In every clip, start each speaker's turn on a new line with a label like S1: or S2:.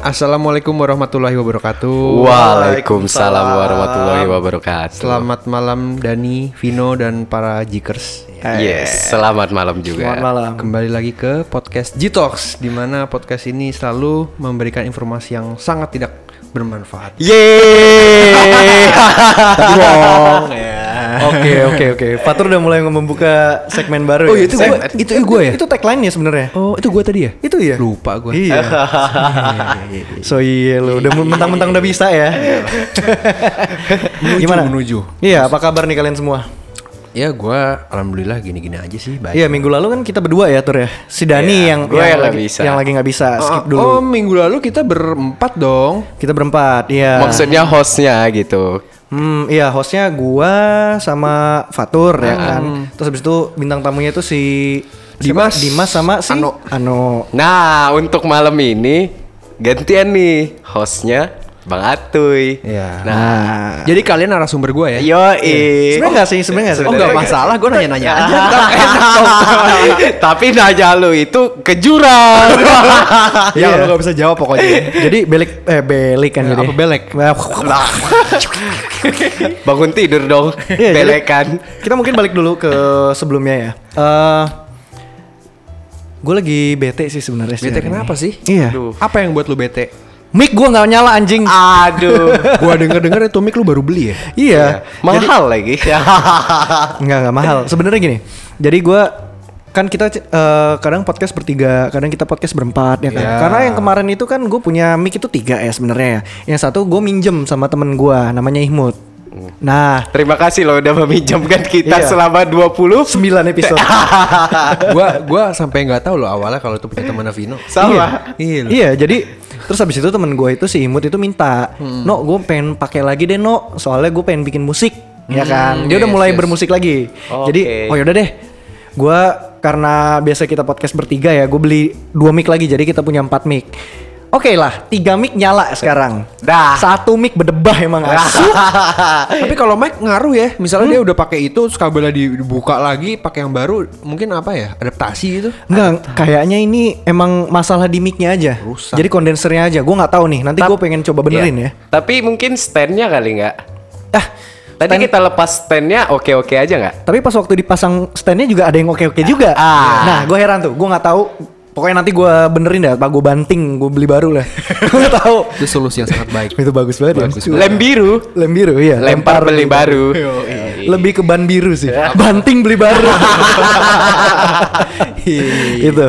S1: Assalamualaikum warahmatullahi wabarakatuh.
S2: Waalaikumsalam warahmatullahi wabarakatuh.
S1: Selamat malam Dani, Vino dan para Jikers.
S2: Yes, selamat malam juga.
S3: Selamat malam.
S1: Kembali lagi ke podcast Jitox di mana podcast ini selalu memberikan informasi yang sangat tidak bermanfaat.
S2: Yeay.
S3: Bohong ya. Oke oke oke. Fatur udah mulai membuka segmen baru.
S1: Oh,
S3: ya.
S1: itu
S3: Seg-
S1: gua- itu gua ya?
S3: Itu tagline nya sebenarnya.
S1: Oh, itu gua tadi ya?
S3: Itu ya.
S1: Lupa gua. Eh,
S3: Iya. so iya lu udah mentang-mentang udah bisa ya.
S1: Menuju,
S3: Gimana?
S1: menuju.
S3: Iya, apa kabar nih kalian semua?
S1: Ya gua alhamdulillah gini-gini aja sih, baik.
S3: Iya, minggu lalu kan kita berdua ya, Tur ya. Si Dani
S2: Iya,
S3: yang
S2: gua yang
S3: yang
S2: nggak
S3: lagi
S2: bisa.
S3: yang lagi nggak bisa, skip dulu.
S1: Oh, minggu lalu kita berempat dong.
S3: Kita berempat, iya.
S2: Maksudnya hostnya gitu.
S3: Hmm, iya hostnya gua sama Fatur ya kan. Terus habis itu bintang tamunya itu si
S1: Dimas.
S3: siapa? Dimas sama si
S1: Ano.
S3: Ano.
S2: Nah, untuk malam ini gantian nih hostnya Bang Atuy.
S1: Iya.
S2: Nah,
S1: Jadi kalian narasumber gua ya?
S2: yoi.
S3: Ah, iya. Sebenarnya enggak sih, sebenarnya enggak sih.
S1: Oh, enggak masalah, gua nanya-nanya aja.
S2: Tapi nanya lu itu ke jurang.
S3: Iya.
S1: lu nggak bisa jawab pokoknya.
S3: Jadi belik eh belik kan
S1: Ya,
S3: jadi.
S1: apa belek?
S2: Bangun tidur dong.
S3: Iya, jadi-
S2: Belekan.
S3: Kita mungkin balik dulu ke sebelumnya ya. Eh gue lagi bete sih sebenarnya.
S1: Bete
S3: sih hari
S1: kenapa
S3: ini.
S1: sih?
S3: Iya.
S2: Aduh.
S1: Apa yang buat lu bete?
S3: Mic gua nggak nyala anjing.
S2: Aduh.
S1: Gua denger-denger itu mic lu baru beli ya?
S3: Iya.
S2: Mahal lagi.
S3: Enggak, enggak mahal. Sebenarnya gini. Jadi gua kan kita eh, kadang podcast bertiga, kadang kita podcast berempat ya kan.
S1: Iya.
S3: Karena yang kemarin itu kan gue punya mic itu tiga ya sebenarnya. Yang satu gue minjem sama temen gua namanya Ihmut. Nah,
S2: Terima kasih lo udah meminjamkan kita
S3: Iya.
S2: selama 20
S3: 9 episode.
S1: gua gua sampai nggak tahu loh awalnya kalau itu punya teman Vino.
S2: sama.
S1: Iya. loh.
S3: Iya, jadi terus habis itu temen gue itu si Imut itu minta, "No, gue pengen pakai lagi deh, No. Soalnya gue pengen bikin musik." Ya kan. Dia udah
S1: yes,
S3: mulai
S1: yes.
S3: bermusik lagi. Jadi,
S2: Oke.
S3: oh yaudah deh. Gue karena biasa kita podcast bertiga ya, gue beli dua mic lagi jadi kita punya empat mic. Oke lah, tiga mic nyala sekarang.
S2: Dah.
S3: Satu mic berdebah emang asu.
S1: Tapi kalau mic ngaruh ya. Misalnya dia udah pakai itu terus kabelnya di- dibuka lagi pakai yang baru mungkin apa ya? Adaptasi gitu.
S3: Enggak, kayaknya ini emang masalah di mic-nya aja.
S1: Rusak.
S3: Jadi kondensernya aja. Gue nggak tahu nih. Nanti
S2: Tap-
S3: gue pengen coba benerin
S2: Iya. Tapi mungkin standnya kali nggak?
S3: ya. Ah,
S2: Tadi kita lepas standnya oke-oke aja nggak?
S3: Tapi pas waktu dipasang standnya juga ada yang oke-oke juga.
S2: Ah.
S3: Nah, gue heran tuh, gue nggak tahu. Pokoknya nanti gue benerin dah, pak gue banting, gue beli baru lah. gue nggak tahu.
S1: Itu solusi yang sangat baik.
S3: Itu bagus banget.
S1: Bagus
S3: ya.
S1: banget.
S2: Lem biru,
S3: Lem biru iya.
S2: lempar beli Iya. baru.
S3: Lebih ke ban biru sih. Banting beli baru. Iya, itu.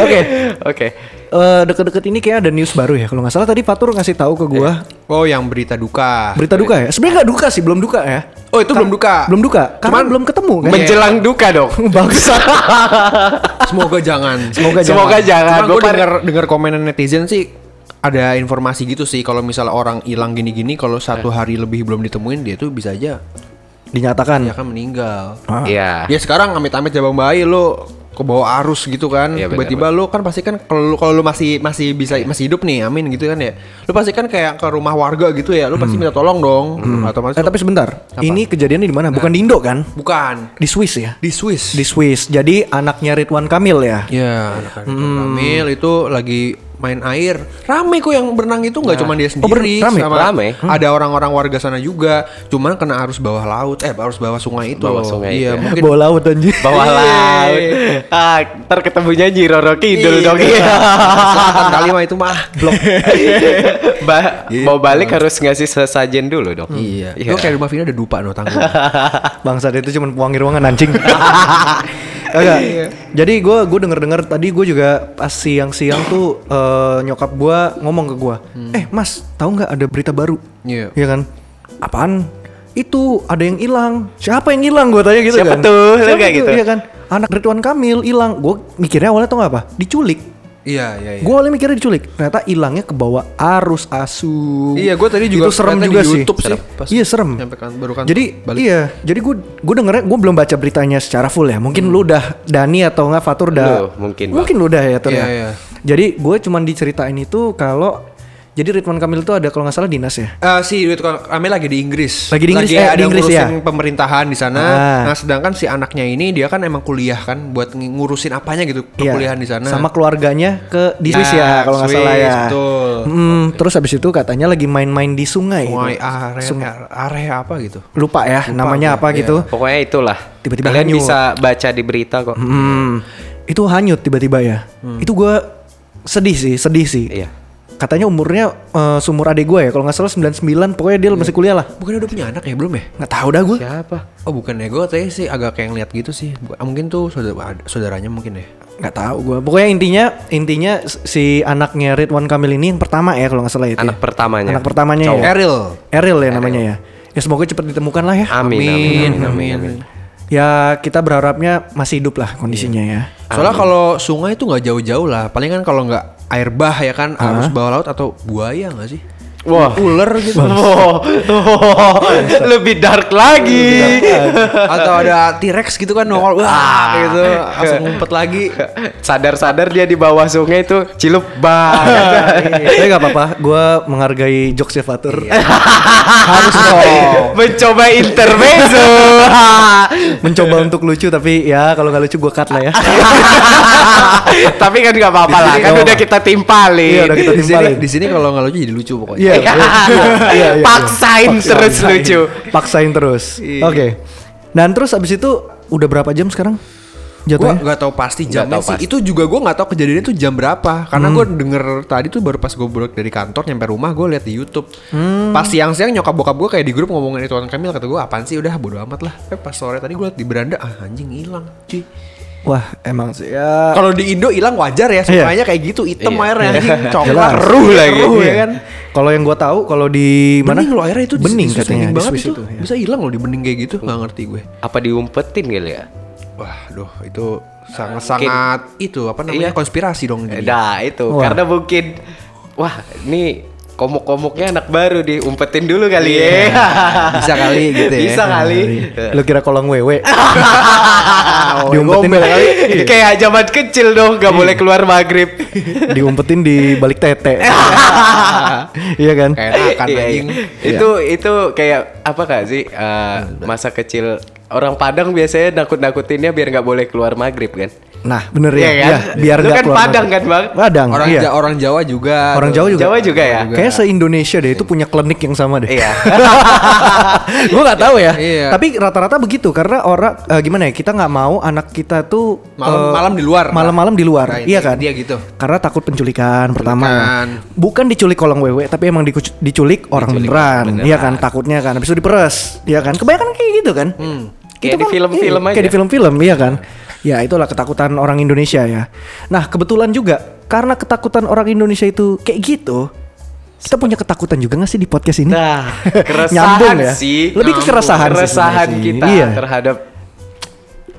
S3: Oke.
S2: Oke.
S3: Gitu. Eh, deket-deket ini kayak ada news baru ya. Kalau nggak salah tadi Fatur ngasih tahu ke gue
S1: Oh, yang berita duka.
S3: berita duka ya. Sebenarnya nggak duka sih, belum duka ya.
S1: Oh, itu belum duka.
S3: Belum duka. Karena
S1: Cuman
S3: belum ketemu kan.
S2: Menjelang duka dong.
S3: Bangsa.
S1: Semoga jangan.
S3: Semoga jangan.
S2: Semoga jangan.
S1: Cuman
S2: Gua
S1: gue
S2: par-
S1: denger denger komenan netizen sih ada informasi gitu sih kalau misalnya orang hilang gini-gini kalau satu hari lebih belum ditemuin dia tuh bisa aja
S3: Dinyatakan.
S1: dia akan meninggal.
S2: Iya.
S1: Ya sekarang amit-amit jabang bayi lo ke bawah arus gitu kan.
S2: Iya, benar, Iya.
S1: Tiba-tiba lo kan pasti kan kalau lu- kalau lu masih masih bisa masih hidup nih, amin gitu kan ya. Lu pasti kan kayak ke rumah warga gitu ya. Lu pasti
S2: Hmm.
S1: minta tolong dong. Atau
S3: Eh tapi sebentar, ini kejadiannya di mana? Bukan di Indo kan?
S1: bukan
S3: Di Swiss ya?
S1: di Swiss.
S3: Di Swiss. Jadi anaknya Ridwan Kamil
S1: Ya,
S3: ya.
S2: Iya,
S1: anak-anak itu
S2: hmm.
S1: Ramil itu lagi main air. Rame kok yang berenang itu nggak cuma dia sendiri,
S3: ber- rame,
S2: Nah. Oh, rame. Hmm.
S1: ada orang-orang warga sana juga. Cuman kena arus bawah laut, eh arus bawah sungai itu.
S2: Bawah sungai
S1: iya,
S2: itu ya.
S1: mungkin
S3: Bawa laut anjir.
S2: Bawah laut. Ah, ntar ketemunya Jiroro
S3: Iya.
S2: Kidul dong. Iya.
S1: Iya. Selatan kali mah itu mah blok.
S2: Ba-
S3: Iya.
S2: mau balik harus ngasih sesajen dulu dong.
S1: Iya. Gue kayak rumah Vina ada dupa no tanggung.
S3: Bangsat itu cuma pewangi ruangan anjing. Agak.
S2: Iya.
S3: Jadi gue gue denger dengar tadi gue juga pas siang-siang tuh eh, nyokap gue ngomong ke gue,
S2: Hmm.
S3: eh mas tahu nggak ada berita baru?
S1: Iya.
S3: Iya kan? Apaan? Itu ada yang hilang. Siapa yang hilang? Gue tanya gitu
S2: Siapa
S3: kan.
S2: tuh? Lu
S3: Siapa
S2: kayak
S3: tuh?
S2: gitu.
S3: Iya kan? Anak Ridwan Kamil hilang. Gue mikirnya awalnya tau nggak apa? Diculik.
S1: iya, iya, iya.
S3: Gue awalnya mikirnya diculik. Ternyata hilangnya ke bawah arus asu.
S1: Iya, gua tadi juga
S3: itu serem
S1: ternyata
S3: juga
S1: di
S3: sih.
S1: YouTube sih.
S3: Serem.
S1: Pas
S3: Iya serem.
S1: nyampe kan- baru kantor,
S3: Jadi
S1: balik.
S3: iya, jadi gue gue dengernya gue belum baca beritanya secara full ya. Mungkin
S1: Hmm.
S3: lu udah Dani atau nggak Fatur udah
S2: Lu, mungkin, Bang.
S3: mungkin lu udah ya Tur
S1: Iya,
S3: ya.
S1: iya.
S3: Jadi gue cuman diceritain itu kalau Jadi Ridwan Kamil itu ada kalau nggak salah dinas ya.
S1: Eh, si Ridwan Kamil lagi di Inggris.
S3: Lagi di Inggris, eh,
S1: ada
S3: di Inggris ya?
S1: ngurusin pemerintahan di sana.
S3: Ah.
S1: Nah, sedangkan si anaknya ini dia kan emang kuliah kan buat ng- ngurusin apanya gitu,
S3: Iya.
S1: perkuliahan di sana.
S3: Sama keluarganya ke di Swiss
S1: Nah,
S3: ya kalau nggak salah
S1: Swiss,
S3: ya.
S1: betul.
S3: Hmm, terus habis itu katanya lagi main-main di sungai.
S1: Wai-
S3: gitu.
S1: area, area apa gitu.
S3: Lupa ya namanya
S1: Iya.
S3: apa gitu.
S2: Pokoknya itulah.
S3: Tiba-tiba
S2: Kalian
S3: hanyut.
S2: bisa baca di berita kok.
S3: Hmm, itu hanyut tiba-tiba ya. Itu gua sedih sih, sedih sih.
S2: Hmm. Iya.
S3: Katanya umurnya eh, seumur adik gue ya, kalau nggak salah 99, pokoknya dia
S2: Iya.
S3: masih kuliah lah.
S1: Bukan udah punya anak ya belum ya?
S3: Nggak tahu dah gue.
S2: Siapa?
S1: Oh bukan ya, gue tadi sih agak kayak ngeliat gitu sih. Bu- Mungkin tuh saudara, saudaranya mungkin ya.
S3: Nggak tahu gue. Pokoknya intinya intinya si anaknya Ridwan Kamil ini yang pertama ya kalau nggak salah itu.
S2: Anak
S3: ya.
S2: pertamanya.
S3: Anak pertamanya ya.
S1: Eril.
S3: Eril ya namanya ya. Ya semoga cepat ditemukan lah ya.
S2: Amin. Amin. Amin. amin, amin.
S3: Ya kita berharapnya masih hidup lah kondisinya
S2: Iya.
S3: ya.
S1: Soalnya kalau sungai itu nggak jauh-jauh lah. Paling kan kalau nggak air bah ya kan arus bawah laut atau buaya nggak sih?
S2: Wah.
S1: Ular gitu.
S2: Oh, oh, lebih dark lagi.
S1: atau ada T-Rex gitu kan nongol wah kayak gitu langsung ngumpet lagi.
S2: Sadar-sadar dia di bawah sungai itu cilup banget.
S3: Tapi gak apa-apa, gue menghargai jokes Fatur
S2: Iya.
S3: Harus dong
S2: Oh. Mencoba intermezzo.
S3: Mencoba untuk lucu tapi ya kalau nggak lucu gue cut lah ya
S2: Tapi kan nggak apa-apa lah, kan udah kita timpalin.
S3: Iya udah kita
S1: Di sini
S3: timpalin
S1: di sini kalau nggak lucu jadi lucu pokoknya.
S3: Iya iya, iya, iya.
S2: Paksain iya. terus lucu.
S3: Paksain terus Oke Dan terus abis itu udah berapa jam sekarang
S1: Gue
S3: jatuhnya?
S1: nggak tahu pasti jamnya
S2: tahu
S1: sih. Itu juga gue nggak tahu kejadiannya itu jam berapa. Karena gue denger tadi tuh baru pas gue balik dari kantor nyampe rumah gue lihat di YouTube. Pas siang-siang nyokap bokap gue kayak di grup ngomongin Ridwan Kamil kata gue apaan sih udah bodo amat lah. Tapi pas sore tadi gue liat di beranda ah anjing hilang cuy.
S3: Wah emang sih ya
S1: Kalau di Indo hilang wajar ya, sukanya kayak gitu, hitam
S2: Iya.
S1: airnya anjing,
S3: Iya. Jelas.
S1: coklat,
S2: Keruh lagi.
S1: keruh ya
S3: Iya.
S1: kan.
S3: Kalau yang gue tahu kalau di mana?
S1: Bening loh airnya itu di-
S3: bening
S1: di- susah
S3: katanya di
S1: banget
S3: Swiss
S1: itu.
S3: itu. ya.
S1: Bisa hilang loh di bening kayak gitu, nggak ngerti gue.
S2: Apa diumpetin kali ya?
S1: Wah, duh itu sangat-sangat itu apa namanya
S2: Iya.
S1: konspirasi dong.
S2: Eh,
S1: jadi.
S2: Nah itu
S3: Wah.
S2: karena mungkin wah ini komuk-komuknya anak baru diumpetin dulu kali ya. Iya,
S1: Bisa kali gitu ya.
S2: Bisa kali.
S3: Iya. Lu kira kolong wewe?
S2: Gombel
S3: diumpetin Iya.
S2: kali. Kayak zaman kecil dong nggak boleh keluar maghrib.
S3: diumpetin di balik tete. iya kan?
S1: Kayak akan
S2: Iya,
S1: anjing.
S2: iya. Itu itu kayak apa kak sih eh, masa kecil orang Padang biasanya nakut-nakutinnya biar nggak boleh keluar maghrib kan?
S3: Nah, bener ya.
S2: Iya kan?
S3: Iya, biar
S2: Lu
S3: nggak
S2: kan
S3: keluar
S2: Padang
S3: maghrib.
S2: kan, Bang?
S3: Padang.
S1: Orang
S3: iya.
S1: Ja- orang Jawa juga.
S3: Orang
S1: tuh.
S3: Jawa juga.
S2: Jawa juga ya?
S1: Juga.
S3: Kayaknya se-Indonesia deh itu punya klinik yang sama deh.
S2: Iya.
S3: Gue nggak tahu ya.
S1: Iya.
S3: Tapi rata-rata begitu karena orang eh, gimana ya kita nggak mau anak kita tuh
S1: Malam-
S3: eh,
S1: malam di luar.
S3: Malam-malam di luar,
S1: Nah,
S3: iya
S1: dia-
S3: kan?
S1: dia gitu.
S3: Karena takut penculikan, pertama.
S1: Penculikan.
S3: Bukan diculik kolong wewe tapi emang diku- diculik orang beneran,
S2: orang
S3: iya kan? Takutnya kan habis itu diperes, iya kan? Kebanyakan kayak gitu kan?
S1: Hmm.
S2: Kayak di film-film
S3: iya,
S2: aja.
S3: Kayak di film-film, iya kan? Ya itulah ketakutan orang Indonesia ya. Nah kebetulan juga karena ketakutan orang Indonesia itu kayak gitu, kita punya ketakutan juga nggak sih di podcast ini?
S2: Nah, keresahan
S3: Nyambung ya?
S2: sih.
S3: Lebih ke keresahan sih
S2: keresahan
S3: sebenarnya sih.
S2: kita
S3: Iya.
S2: terhadap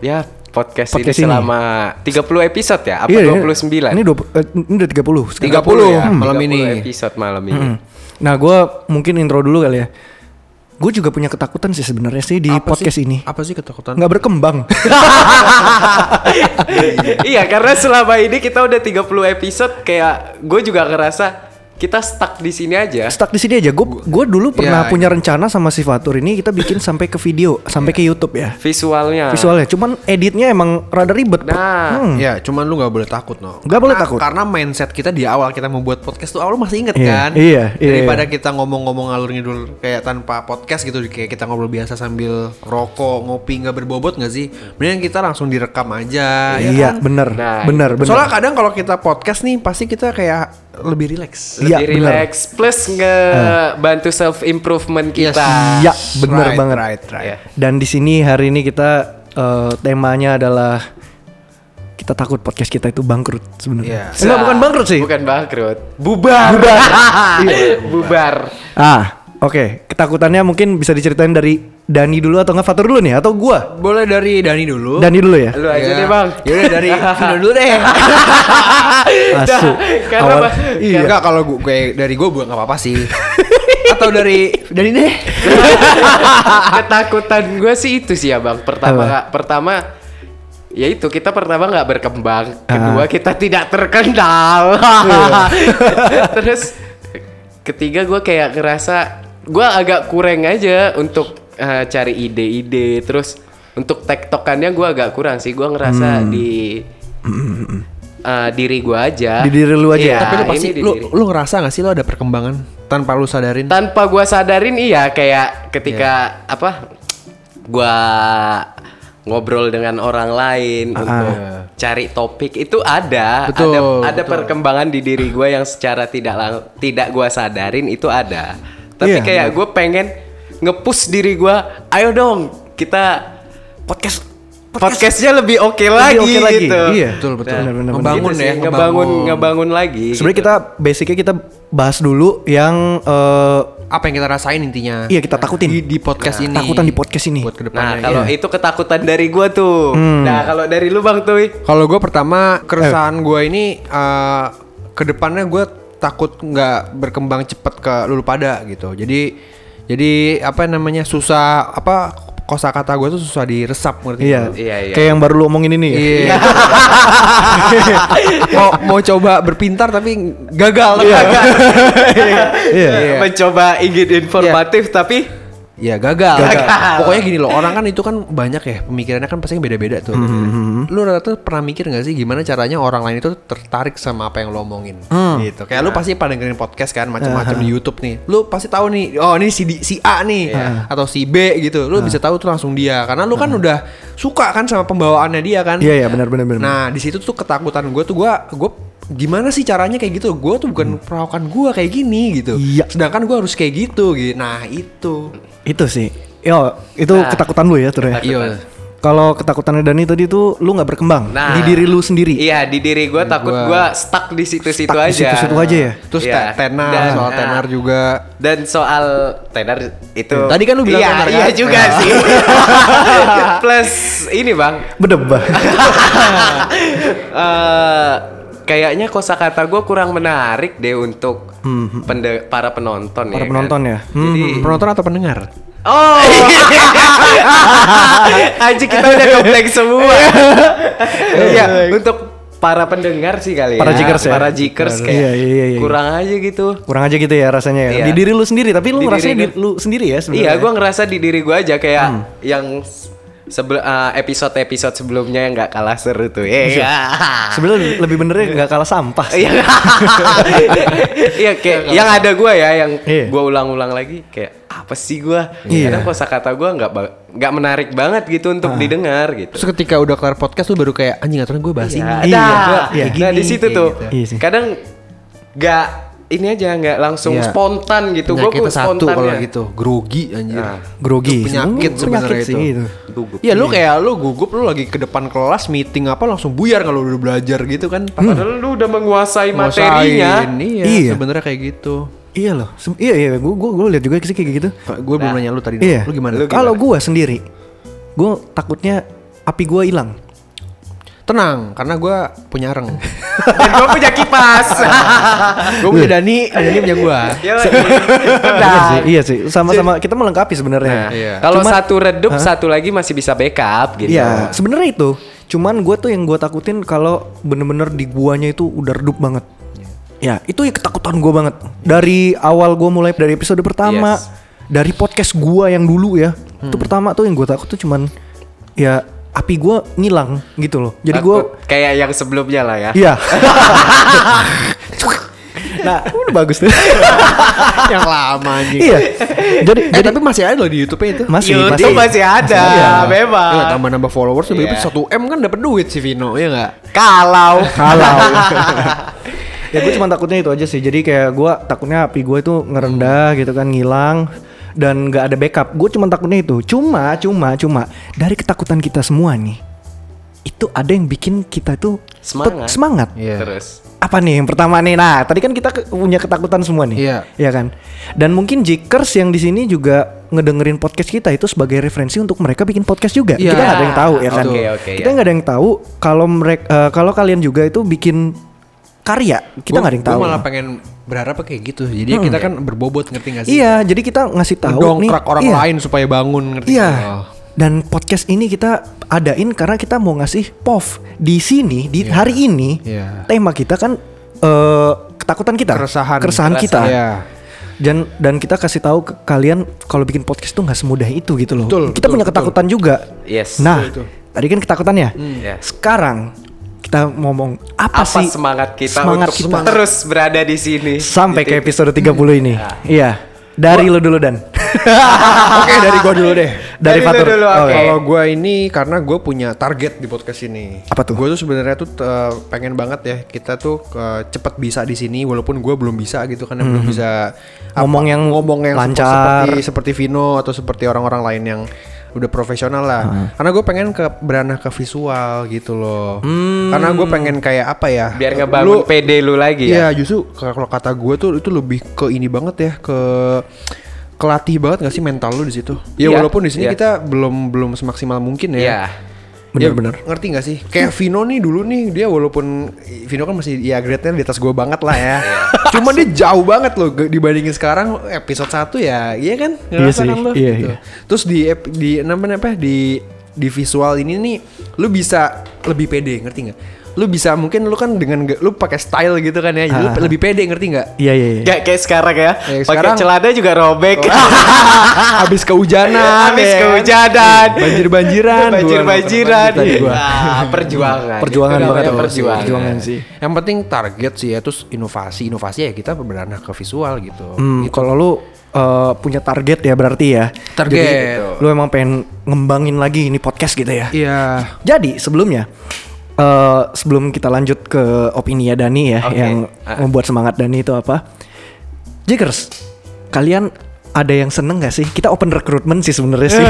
S2: ya podcast,
S3: Podcast
S2: ini
S3: ini.
S2: selama 30 episode ya apa
S3: Iya, iya.
S2: 29?
S3: Ini, 20, eh, ini udah 30 sekarang.
S1: 30 ya,
S2: Hmm.
S1: malam ini.
S2: 30 episode malam ini.
S3: Nah, gue mungkin intro dulu kali ya. Gue juga punya ketakutan sih sebenarnya sih di
S1: Apa
S3: podcast
S1: sih-
S3: ini.
S1: Apa sih ketakutan?
S3: Nggak berkembang.
S2: iya, karena selama ini kita udah 30 episode kayak gue juga ngerasa kita stuck di sini aja.
S3: Stuck di sini aja. Gue gue dulu pernah
S1: Iya,
S3: punya rencana sama si Fatur ini kita bikin sampai ke video, sampai ke
S1: Iya.
S3: YouTube ya.
S1: Nah.
S2: Visualnya.
S3: Visualnya. Cuman editnya emang rada ribet.
S2: Nah,
S3: Hmm.
S1: Ya, cuman lu nggak boleh takut, no.
S3: Nggak boleh
S1: Karena-
S3: takut.
S1: Karena mindset kita di awal kita membuat podcast tuh awal lu masih inget
S3: Iya,
S1: kan?
S3: iya, iya,
S1: Daripada
S3: iya.
S1: kita ngomong-ngomong ngalur ngidul kayak tanpa podcast gitu, kayak kita ngobrol biasa sambil rokok, ngopi nggak berbobot nggak sih? Mendingan kita langsung direkam aja. ya
S3: iya,
S1: kan?
S3: bener,
S2: Nah,
S3: bener, bener.
S1: Soalnya kadang kalau kita podcast nih pasti kita kayak lebih rileks.
S3: Iya,
S2: lebih
S3: bener.
S2: relax plus ngebantu self improvement kita.
S3: Iya, bener
S1: Right,
S3: banget.
S1: right, right.
S2: Iya.
S3: Dan di sini hari ini kita eh, temanya adalah kita takut podcast kita itu bangkrut sebenarnya.
S1: Iya.
S3: Enggak bukan bangkrut sih.
S2: Nah, Bukan bangkrut. Bubar.
S3: Bubar.
S2: Bubar.
S3: Ah, oke. Ketakutannya mungkin bisa diceritain dari Dani dulu atau nggak Fatur dulu nih atau gua?
S1: Boleh dari Dani dulu.
S3: Dani dulu ya.
S2: Lu aja
S1: Ya.
S2: deh, Bang.
S1: Yaudah dari Vino dulu deh.
S3: Asu.
S2: karena
S3: Ah, Awal-
S2: Bang-
S1: iya. Enggak kalau gue kayak dari gue bukan apa-apa sih. Atau dari Dani deh.
S2: ketakutan gue sih itu sih ya bang pertama
S3: Apa?
S2: Kak. pertama ya itu kita pertama nggak
S3: Ah. Iya.
S2: berkembang kedua kita tidak terkenal terus ketiga gue kayak ngerasa gue agak kurang aja untuk eh, cari ide-ide terus untuk tektokannya gue agak kurang sih gue
S3: Hmm.
S2: ngerasa di eh, diri gue aja Iya,
S3: Di diri lu aja ya?
S1: Tapi lu
S2: Ah, ini
S1: pasti
S2: di
S1: lu,
S2: diri.
S1: lu ngerasa gak sih lu ada perkembangan tanpa lu sadarin?
S2: tanpa gue sadarin iya kayak ketika
S3: Iya.
S2: apa gue ngobrol dengan orang
S3: Ah,
S2: lain untuk cari topik itu ada
S1: Betul,
S2: ada ada perkembangan di diri gue yang secara tidak lang- tidak gue sadarin itu ada tapi
S3: Iya,
S2: kayak gue pengen ngepus diri gue ayo dong kita
S3: podcast
S2: podcastnya lebih oke lagi,
S3: oke lagi,
S2: gitu
S3: iya.
S1: Betul betul.
S3: Benar, benar, benar.
S1: Membangun
S2: Gitu sih,
S1: ya,
S2: ngebangun ngebangun lagi
S3: sebenarnya
S2: gitu.
S3: kita basicnya kita bahas dulu yang eh,
S1: Apa yang kita rasain intinya?
S3: iya kita takutin
S1: Di, di podcast ini.
S3: takutan di podcast ini
S1: Buat kedepannya.
S2: nah kalau
S3: iya.
S2: itu ketakutan dari gue tuh
S3: Hmm.
S2: nah kalau dari lu bang tuh
S1: Kalau gue pertama keresahan gue ini eh, kedepannya gue takut nggak berkembang cepet ke lulu pada gitu. Jadi jadi apa namanya susah apa kosakata gue tuh susah diresap ngerti
S3: iya.
S1: nggak?
S2: Iya, iya.
S3: kayak yang baru lu omongin ini ya
S1: Iya. mau mau coba berpintar tapi gagal.
S3: iya
S1: Iya.
S2: mencoba ingin informatif tapi
S1: Ya gagal.
S2: Gagal.
S1: Pokoknya gini loh, orang kan itu kan banyak ya pemikirannya kan pasti beda-beda tuh.
S3: Hmm,
S1: Lu rata pernah mikir nggak sih gimana caranya orang lain itu tertarik sama apa yang lo omongin?
S3: Hmm.
S1: Gitu. Kayak lu pasti pada dengerin podcast kan macam-macam di YouTube nih. Lu pasti tahu nih, oh ini si di- si A nih
S3: Iya.
S1: atau si B gitu. Lu bisa tahu tuh langsung dia karena lu kan udah suka kan sama pembawaannya dia kan.
S3: iya iya benar benar benar
S1: Nah di situ tuh ketakutan gue tuh gue gue gimana sih caranya kayak gitu? Gue tuh bukan perawakan gue kayak gini gitu.
S3: Hmm. Iya.
S1: Sedangkan gue harus kayak gitu. gitu. Nah itu.
S3: itu sih yo itu
S2: Nah.
S3: ketakutan lu ya tuh ya
S1: Iya.
S3: kalau ketakutannya Dani tadi tuh lu nggak berkembang
S2: Nah.
S3: di diri lu sendiri
S2: iya di diri gue takut
S1: gua-
S2: gue stuck di situ-situ
S3: Stuck
S2: aja
S3: di situ-situ aja ya?
S1: Terus
S2: Iya.
S1: te- tenar
S2: Dan,
S1: soal
S2: nah,
S1: tenar juga.
S2: dan soal tenar itu
S1: Tadi kan lu bilang
S2: iya,
S1: tenar,
S2: iya
S1: kan?
S2: juga
S1: Nah.
S2: sih plus ini bang
S3: bedebah
S2: Iya eh kayaknya kosakata gue kurang menarik deh untuk pende- para penonton ya
S3: Hmm, para
S2: kan?
S3: penonton ya
S1: Jadi
S2: Hmm.
S1: penonton atau pendengar?
S2: Oh, anjing kita udah kompleks semua. Iya, untuk para pendengar sih kali
S3: Para
S2: ya.
S3: jikers ya.
S2: Para jikers kayak
S3: Iya, iya, iya, iya.
S2: kurang aja gitu.
S3: kurang aja gitu ya rasanya ya
S2: Iya.
S3: di diri lu sendiri tapi lu
S2: Di
S3: ngerasanya
S2: diri kan.
S3: di- lu sendiri ya sebenarnya Hmm.
S2: Iya, gua ngerasa di diri gua aja kayak yang sebel- eh, episode-episode sebelumnya yang nggak kalah seru tuh. Iya.
S3: sebenarnya lebih benernya nggak kalah sampah sih.
S2: Iya. Iya kayak yang ada gua ya yang
S3: Iya.
S2: gua ulang-ulang lagi kayak apa sih gua?
S3: Iya. Ah.
S2: Kadang kosakata gua nggak ba- nggak menarik banget gitu untuk didengar gitu.
S1: Terus ketika udah kelar podcast lu baru kayak anjing aturan gue bahas
S2: Iya,
S1: ini.
S3: Iya,
S2: ada.
S3: iya.
S1: Gini,
S2: Nah di situ
S1: kayak
S2: tuh
S1: gitu.
S3: Iya sih.
S2: kadang nggak ini aja nggak langsung
S1: Iya.
S2: spontan gitu. Gue
S1: Penyakitnya satu
S2: spontan
S1: kalau
S2: ya.
S1: gitu, grogi anjir.
S2: Nah.
S3: grogi
S1: Itu penyakit
S3: Sebenarnya
S1: sebenarnya
S3: penyakit
S1: itu.
S3: sih
S2: Gugup.
S1: Iya lu kayak lu gugup lu lagi ke depan kelas meeting apa langsung buyar kalau udah belajar gitu kan. Pas
S2: Padahal lu udah menguasai
S1: nguasain,
S2: materinya.
S1: Iya,
S3: Hmm. Iya.
S1: sebenarnya kayak gitu.
S3: iya loh Sem- iya iya gue gue gue lihat juga sih kayak gitu
S1: Gue
S2: Nah.
S1: belum nanya lu tadi.
S3: iya
S1: Lu gimana?
S3: kalau gue sendiri gue takutnya api gue hilang
S1: Tenang, karena gue punya areng.
S2: Dan gue punya kipas.
S1: gue punya Dani, Dani punya gue.
S2: Yoi.
S3: Iya
S2: Nah,
S3: sih, iya sih sama-sama kita melengkapi sebenarnya
S1: Iya.
S2: Kalau
S3: Cuman-
S2: satu redup, satu lagi masih bisa backup gitu.
S3: Iya, sebenarnya itu. Cuman gue tuh yang gue takutin kalau bener-bener di guanya itu udah redup banget. Ya, itu ya ketakutan gue banget. Dari awal gue mulai dari episode pertama,
S2: Yes.
S3: dari podcast gua yang dulu ya, itu pertama tuh yang gue takut tuh cuman ya api gua ngilang gitu loh. Jadi gue,
S2: Takut kayak yang sebelumnya lah ya.
S3: iya. nah, udah bagus tuh.
S1: Yang lama anjing.
S3: iya. Jadi,
S1: Eh
S3: jadi
S1: tapi masih ada loh di YouTube-nya itu.
S3: masih,
S2: YouTube masih ada,
S3: Iya.
S2: memang.
S1: Ya, tambah-nambah followers lebih
S2: Iya.
S1: satu M kan dapat duit si Vino ya enggak?
S2: Kalau
S3: Kalau ya gue cuma takutnya itu aja sih. Jadi kayak gue takutnya api gue itu ngerendah gitu kan, ngilang dan nggak ada backup. Gue cuma takutnya itu. Cuma, cuma, cuma dari ketakutan kita semua nih, itu ada yang bikin kita tuh
S2: Semangat.
S3: semangat.
S1: Iya.
S2: terus
S3: Apa nih yang pertama nih? Nah, tadi kan kita ke- punya ketakutan semua nih.
S1: Iya.
S3: kan? Dan mungkin jikers yang di sini juga ngedengerin podcast kita itu sebagai referensi untuk mereka bikin podcast juga.
S1: Iya.
S3: Kita nggak ada yang tahu ya kan?
S2: Oke, oke,
S3: kita
S2: ya.
S3: nggak ada yang tahu kalau mereka kalau kalian juga itu bikin karya, kita
S1: Gua-
S3: nggak ada yang
S1: gua
S3: tahu. Hmm.
S1: malah pengen berharap kayak gitu. Jadi kita kan berbobot ngerti gak sih?
S3: Iya, jadi kita ngasih tahu nih.
S1: Dongkrak orang
S3: iya,
S1: lain supaya bangun ngerti.
S3: Iya.
S1: nggak? Oh.
S3: Dan podcast ini kita adain karena kita mau ngasih POV di sini di hari ini.
S1: Iya.
S3: Tema kita kan eh, ketakutan kita,
S1: Keresahan.
S3: keresahan kita.
S1: Iya.
S3: dan dan kita kasih tahu ke kalian kalau bikin podcast tuh nggak semudah itu gitu loh
S1: Betul,
S3: kita
S1: betul,
S3: punya
S1: betul.
S3: ketakutan juga
S2: Yes.
S3: nah
S1: Betul, Hmm. betul.
S3: tadi kan ketakutan ya
S2: Yes.
S3: sekarang kita ngomong
S2: Apa
S3: apa, sih
S2: semangat kita
S3: semangat
S2: untuk
S3: kita
S2: terus berada di sini
S3: sampai
S2: Gitu. Hmm. Ya.
S3: ke episode 30 ini iya dari lo dulu dan
S1: Oke dari gua dulu deh.
S3: dari
S2: Dari lu
S3: Fatur
S2: dulu,
S3: Oh,
S2: oke.
S1: Kalau gue ini karena gue punya target di podcast ini.
S3: Apa tuh?
S1: Gue tuh sebenarnya tuh eh, pengen banget ya kita tuh eh, cepet bisa di sini walaupun gue belum bisa gitu karena belum bisa
S3: Mhm. Ngomong yang
S1: ngomong yang
S3: lancar.
S1: seperti seperti Vino atau seperti orang-orang lain yang udah profesional lah. Karena gue pengen ke beranah ke visual gitu loh.
S3: Hmm.
S1: Karena gue pengen kayak apa ya?
S2: biar
S1: Lu-
S2: ngebangun PD lu lagi ya.
S1: Iya justru kalau kata gue tuh itu lebih ke ini banget ya ke kelatih banget gak sih mental lu di situ? Ya
S2: Iya,
S1: walaupun di sini
S2: iya.
S1: kita belum belum semaksimal mungkin
S2: Iya.
S1: ya. Ya,
S3: Bener-bener.
S1: ngerti gak sih? Kayak Vino nih dulu nih dia walaupun Vino kan masih ya grade-nya di atas gue banget lah ya. Cuman dia jauh banget loh ge- dibandingin sekarang episode 1 ya. Iya kan? Ngerasa
S3: sih,
S1: kan lu?
S3: iya,
S1: Gitu.
S3: iya.
S1: Terus di ep- di namanya apa? ya, Di di visual ini nih lu bisa lebih pede, ngerti nggak? Lu bisa mungkin lu kan dengan ge- lu pakai style gitu kan ya. Jadi lu
S3: Ah.
S1: lebih pede, ngerti nggak?
S3: iya iya iya.
S2: Gak kayak sekarang Oh, ya.
S1: Kayak
S2: Pakai
S1: sekarang.
S2: celana juga robek.
S1: Habis kehujanan,
S2: Habis
S1: ya kan?
S2: Iya, kehujanan. iya.
S1: Banjir-banjiran. gua,
S2: Banjir-banjiran.
S1: tadi gua.
S2: Wah, perjuangan.
S3: Perjuangan
S2: Itu
S3: banget
S2: namanya
S3: tuh.
S2: Perjuangan.
S3: Perjuangan sih.
S1: Yang penting target sih ya terus inovasi inovasi ya kita beranah ke visual gitu.
S3: Hmm, kalau lu uh, punya target ya berarti ya.
S1: Target.
S3: Jadi, lu emang pengen ngembangin lagi ini podcast gitu ya.
S1: Iya.
S3: Jadi sebelumnya eh, sebelum kita lanjut ke opini ya Dani ya
S2: Oke. Ah.
S3: yang membuat semangat Dani itu apa? Jikers, kalian ada yang seneng gak sih? Kita open recruitment sih sebenarnya sih.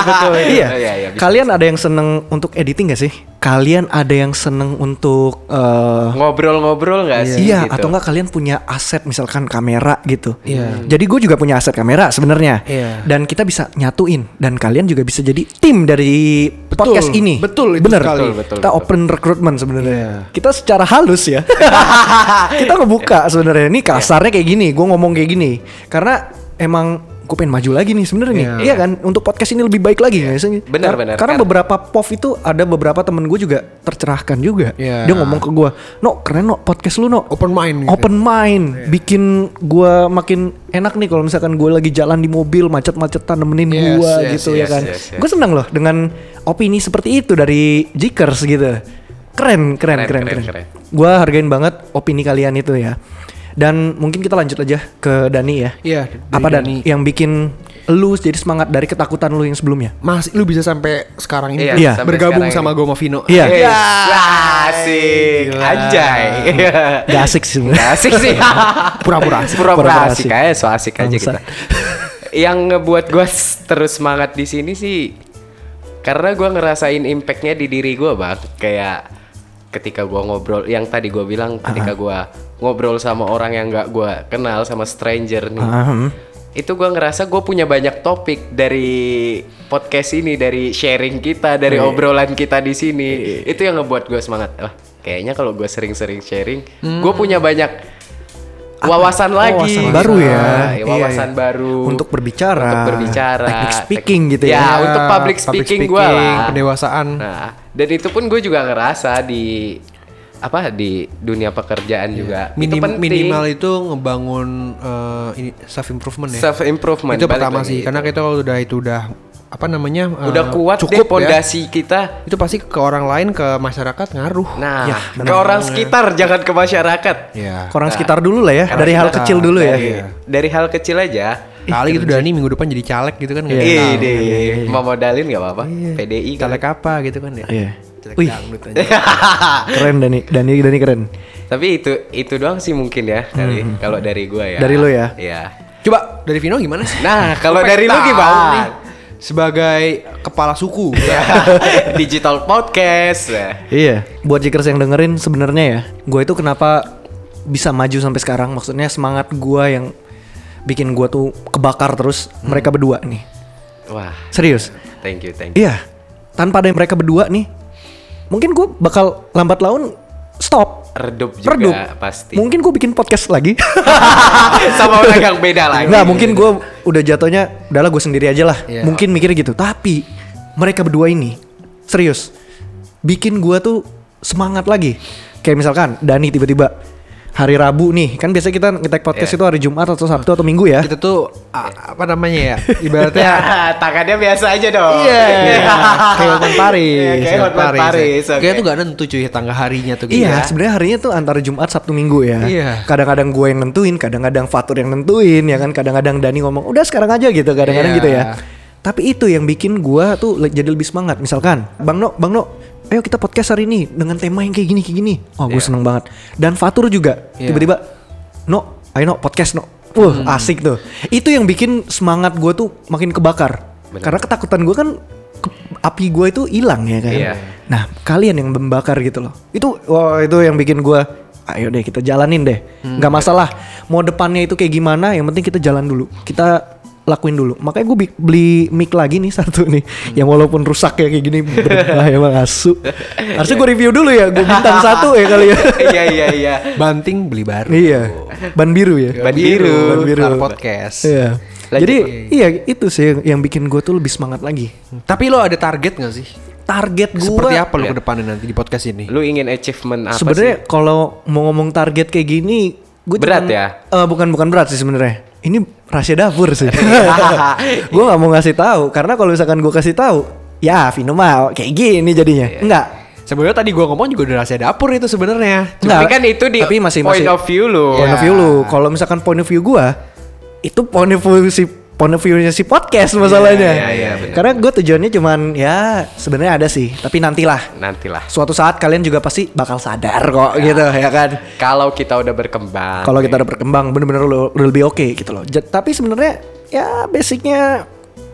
S2: betul.
S3: Iya.
S2: Iya, iya, bisa.
S3: Kalian ada yang seneng untuk editing gak sih? Kalian ada yang seneng untuk eh,
S2: Ngobrol-ngobrol nggak sih?
S3: Iya,
S2: gitu?
S3: atau enggak kalian punya aset misalkan kamera gitu. Iya. Jadi gue juga punya aset kamera sebenarnya.
S1: Iya.
S3: Dan kita bisa nyatuin dan kalian juga bisa jadi tim dari podcast ini.
S1: betul itu
S3: Bener.
S1: sekali.
S2: Betul, betul,
S3: kita
S2: betul.
S3: open recruitment sebenarnya.
S1: Iya.
S3: Kita secara halus ya. kita ngebuka sebenarnya. Ini
S2: Iya.
S3: kasarnya kayak gini, gue ngomong kayak gini. Karena emang gue pengen maju lagi nih sebenarnya nih.
S1: Iya.
S3: Iya kan? Untuk podcast ini lebih baik lagi nggak
S2: Benar,
S3: sih? Kar-
S2: benar.
S3: Karena
S2: Iya. Karena-
S3: beberapa POV itu ada beberapa temen gue juga tercerahkan juga.
S1: Iya.
S3: Dia ngomong ke gue, "No, keren no podcast lu no."
S1: Open mind. gitu.
S3: open mind bikin gua makin enak nih kalau misalkan gua lagi jalan di mobil macet-macetan nemenin
S1: Yes,
S3: gua
S1: yes,
S3: gitu ya
S2: yes,
S3: kan
S2: yes, yes.
S3: gue senang loh dengan opini seperti itu dari Jikers gitu keren keren
S2: Keren,
S3: keren keren,
S2: keren, keren.
S3: Gua hargain banget opini kalian itu ya dan mungkin kita lanjut aja ke Dani ya
S1: Iya, dari
S3: apa
S1: Dani.
S3: Dani yang bikin lu jadi semangat dari ketakutan lu yang sebelumnya
S1: Masih lu bisa sampai sekarang ini
S2: Iya,
S1: tuh
S3: Iya.
S2: sampai
S1: bergabung
S2: sekarang
S1: sama
S2: ini.
S1: gue sama Vino.
S3: Iya.
S2: Yes.
S1: Iya.
S2: Wah, asik. Anjay.
S3: gak asik sih
S2: Nggak asik sih.
S1: Pura-pura asik.
S2: Pura-pura
S3: Pura-pura
S2: asik
S3: asik.
S2: aja, so asik aja
S3: Bangsat.
S2: kita. Yang ngebuat gue terus semangat di sini sih karena gue ngerasain impactnya di diri gue bang kayak ketika gue ngobrol yang tadi gue bilang ketika gue ngobrol sama orang yang gak gue kenal sama stranger nih
S3: Ahem.
S2: itu gue ngerasa gue punya banyak topik dari podcast ini dari sharing kita dari
S3: Iya.
S2: obrolan kita di sini itu yang ngebuat gue semangat Wah, kayaknya kalau gue sering-sering sharing gue punya banyak wawasan lagi
S3: Hmm. Wawasan baru ya.
S2: Ah,
S3: Iya,
S2: wawasan
S3: iya.
S2: baru
S3: Untuk berbicara.
S2: untuk berbicara
S3: Teknik speaking gitu ya.
S2: ya untuk public speaking, gue lah
S1: Pendewasaan.
S2: nah dan itu pun gue juga ngerasa di apa di dunia pekerjaan juga itu
S1: Minim-
S2: penting
S1: minimal itu ngebangun eh, ini self improvement ya.
S2: self improvement
S1: itu pertama sih karena kita kalau udah itu udah apa namanya eh,
S2: udah kuat
S1: cukup
S2: deh pondasi
S1: ya.
S2: kita
S1: Itu pasti ke orang lain ke masyarakat ngaruh.
S2: Nah,
S3: Ya,
S2: ke orang sekitar jangan ke masyarakat. Nah,
S1: Iya.
S3: orang sekitar dulu lah ya dari hal
S1: sekitar.
S3: kecil dulu ya
S2: Dari, dari hal kecil aja.
S1: Kali gitu Dani minggu depan jadi caleg gitu kan nggak
S2: Iya,
S3: nah,
S1: tahu.
S2: deh. Mau modalin nggak apa-apa. PDI kan.
S1: Caleg apa gitu kan ya.
S3: Iya.
S1: Caleg
S3: Wih,
S1: dangdut aja.
S3: keren Dani, Dani, Dani keren.
S2: Tapi itu itu doang sih mungkin ya dari kalau dari gua ya.
S3: Hmm, Dari lu ya?
S2: Iya.
S1: Coba dari Vino gimana sih?
S2: Nah, kalau
S1: Gua
S2: dari lu
S1: pengen tahu nih,
S2: gimana?
S1: Sebagai kepala suku.
S2: Digital podcast. Nah.
S3: Iya. Buat jikers yang dengerin sebenarnya ya, gue itu kenapa bisa maju sampai sekarang? Maksudnya semangat gue yang bikin gue tuh kebakar terus mereka berdua nih.
S2: Wah,
S3: Serius?
S2: thank you, thank you.
S3: Iya. Tanpa ada mereka berdua nih, mungkin gue bakal lambat laun stop.
S2: Redup juga
S3: Redup.
S2: pasti.
S3: Mungkin gue bikin podcast lagi.
S2: Sama orang yang beda lagi.
S3: Nggak, mungkin gue udah jatuhnya udahlah gue sendiri aja lah.
S1: Iya.
S3: Mungkin mikirnya gitu. Tapi mereka berdua ini serius bikin gue tuh semangat lagi. Kayak misalkan Dani tiba-tiba hari Rabu nih kan biasanya kita ngetek
S2: Iya.
S3: podcast itu hari Jumat atau Sabtu atau Minggu ya
S1: Kita tuh a- apa namanya ya? Ibaratnya
S2: tangannya biasa aja dong.
S1: Iya, kayak Hotman Paris.
S2: Iya, kayak
S1: Hotman
S2: Hotman Paris,
S1: ya.
S2: oke.
S1: Kayaknya tuh gak nentu cuy tanggal harinya tuh gitu.
S3: Iya, sebenarnya harinya tuh antara Jumat Sabtu Minggu ya.
S1: Iya.
S3: Kadang-kadang gue yang nentuin, kadang-kadang Fatur yang nentuin, ya kan. Kadang-kadang Dani ngomong udah sekarang aja gitu, kadang-kadang
S1: Iya.
S3: gitu ya. Tapi itu yang bikin gue tuh le- jadi lebih semangat. Misalkan, Bang No, Bang No, ayo kita podcast hari ini dengan tema yang kayak gini, kayak gini. Oh, gue seneng banget. Dan Fatur juga
S1: Iya. Hmm.
S3: tiba-tiba, No, ayo No podcast No. Wah asik tuh. Itu yang bikin semangat gue tuh makin kebakar. Karena ketakutan gue kan ke- api gue itu hilang ya kan.
S2: Iya.
S3: Nah, kalian yang membakar gitu loh. Itu wah, itu yang bikin gua ayo deh kita jalanin deh. nggak masalah mau depannya itu kayak gimana, yang penting kita jalan dulu. Kita lakuin dulu. Makanya gue beli mic lagi nih satu nih. Yang walaupun rusak ya kayak gini berubah emang asu. Harusnya gue review dulu ya, gue bintang satu ya kali ya.
S2: Iya iya iya.
S1: Banting beli baru.
S3: iya. Ban biru ya.
S2: Ban biru.
S3: Ban biru.
S1: Ntar podcast.
S3: Iya.
S2: Lanjut,
S3: Jadi iya itu sih yang- yang bikin gue tuh lebih semangat lagi.
S1: Hmm. Tapi lo ada target gak sih?
S3: Target gue
S1: Seperti apa lo ke depannya nanti di podcast ini?
S2: Lu ingin achievement apa
S3: sebenarnya kalau mau ngomong target kayak gini gue
S2: Berat ya?
S3: bukan bukan berat sih sebenarnya ini rahasia dapur sih gue nggak mau ngasih tahu karena kalau misalkan gue kasih tahu ya Vino mau kayak gini jadinya
S2: Iya,
S3: enggak
S1: Sebenarnya tadi gua ngomong juga udah rahasia dapur itu sebenarnya.
S2: sih? Tapi
S3: enggak.
S2: kan itu di
S3: Tapi masih-
S2: point
S3: masih-
S2: of view lu. Iya.
S3: point of view lu kalau misalkan point of view gue itu point of view si point of view-nya si podcast masalahnya
S2: iya, iya, benar.
S3: karena gue tujuannya cuman ya sebenarnya ada sih tapi nantilah
S2: Nantilah.
S3: suatu saat kalian juga pasti bakal sadar kok
S2: Iya.
S3: gitu ya kan
S2: Kalau kita udah berkembang.
S3: kalau kita udah berkembang bener-bener udah udah lebih oke gitu loh. Ja- tapi sebenarnya ya basicnya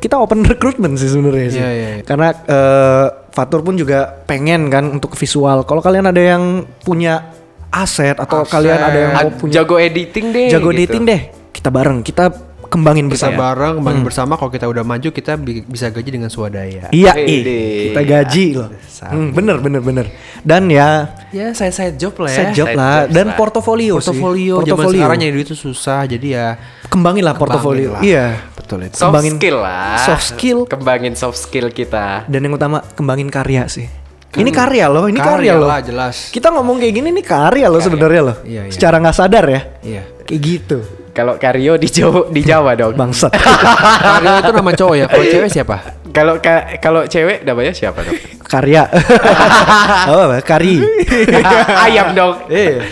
S3: kita open recruitment sih sebenarnya sih.
S1: Iya, iya, iya.
S3: Karena eh, Fatur pun juga pengen kan untuk visual. Kalau kalian ada yang punya aset atau kalian ada yang mau
S2: Ah,
S3: punya
S2: jago editing deh.
S3: jago
S2: gitu.
S3: dating deh, kita bareng, kita kembangin
S1: Kita
S3: bersama.
S1: bareng, bareng bersama kalau kita udah maju kita bi- bisa gaji dengan swadaya.
S3: Iya,
S2: Wih,
S3: ih,
S2: deh.
S3: kita gaji loh. Hmm, bener bener bener. Dan ya
S1: Ya, saya saya job lah ya.
S3: set job
S2: side
S3: lah
S2: jobs
S3: dan
S2: lah.
S3: portofolio sih.
S1: Portofolio, zaman sekarang nyari duit itu susah, jadi ya
S3: Kembangin lah
S1: lah.
S3: portofolio. Iya.
S1: betul itu.
S2: Soft
S3: Kembangin-
S2: skill lah.
S3: soft skill.
S2: Kembangin soft skill kita.
S3: dan yang utama kembangin karya sih. Ini karya loh, ini karya, loh.
S1: lah, jelas.
S3: Kita ngomong kayak gini ini karya loh sebenarnya loh.
S1: Iya, iya.
S3: Secara nggak sadar ya.
S1: Iya.
S3: Kayak gitu.
S2: Kalau Karyo di Jawa, di Jawa dong.
S3: Bangsat.
S1: Karyo itu nama cowok ya, kalau cewek siapa?
S2: Kalau ka- kalau cewek namanya siapa dong?
S3: karya. Apa apa? Kari.
S2: Ah, Ayam dong.
S3: Iya.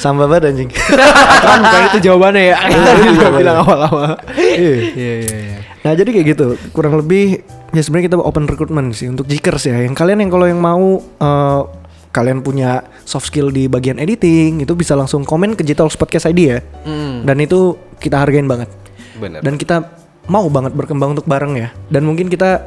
S3: Sambal banget anjing.
S1: kan bukan itu jawabannya ya. Tadi lu bilang awal-awal.
S3: Iya.
S1: Iya, iya, iya.
S3: Nah, jadi kayak gitu. Kurang lebih ya sebenarnya kita open recruitment sih untuk jikers ya. Yang kalian yang kalau yang mau eh, kalian punya soft skill di bagian editing itu bisa langsung komen ke Jitalks Podcast ID ya.
S1: Hmm.
S3: Dan itu kita hargain banget.
S2: Bener.
S3: dan kita mau banget berkembang untuk bareng ya dan mungkin kita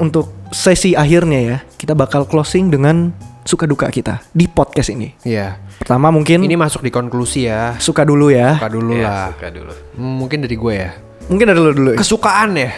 S3: untuk sesi akhirnya ya kita bakal closing dengan suka duka kita di podcast ini
S1: Iya.
S3: pertama mungkin
S1: Ini masuk di konklusi ya.
S3: suka dulu
S1: Iya,
S3: ya
S1: Suka dulu
S2: Ya,
S1: lah.
S2: suka dulu.
S1: Hmm, Mungkin dari gue ya.
S3: mungkin ada lo dulu ya.
S1: Kesukaan ya.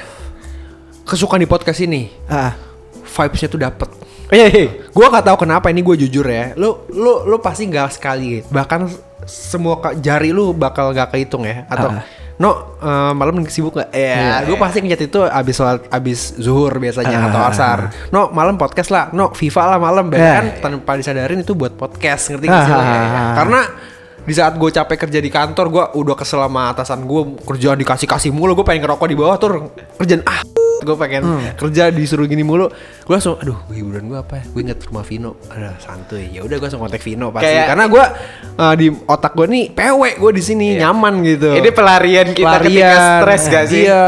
S1: Kesukaan di podcast ini.
S3: ah
S1: Vibes-nya tuh dapet.
S3: eh, eh, eh.
S1: Gue gak tahu kenapa ini gue jujur ya. Lu lu lu pasti nggak sekali. Bahkan semua ka- jari lu bakal gak kehitung ya. Atau
S3: Ah.
S1: No, eh, malam sibuk gak? Ya,
S3: Iya,
S1: gue pasti ngeliat itu abis sholat, abis zuhur biasanya atau
S3: Ah.
S1: asar. No, malam podcast lah. No, FIFA lah malam. Bahkan tanpa disadarin itu buat podcast, ngerti gak sih? lo?
S3: Iya. Ah, ah, ah.
S1: Karena di saat gue capek kerja di kantor, gue udah kesel sama atasan gue kerjaan dikasih kasih mulu, gue pengen ngerokok di bawah tuh kerjaan ah gue pengen kerja disuruh gini mulu, gue langsung aduh gua hiburan gue apa ya? Gue inget rumah Vino, ada santuy, ya udah gue langsung kontak Vino pasti,
S2: Kayak-
S1: karena gue uh, di otak gue nih PW gue di sini nyaman gitu.
S2: Ini pelarian kita ketika
S1: Pelarian.
S2: stres gak sih?
S1: Iya.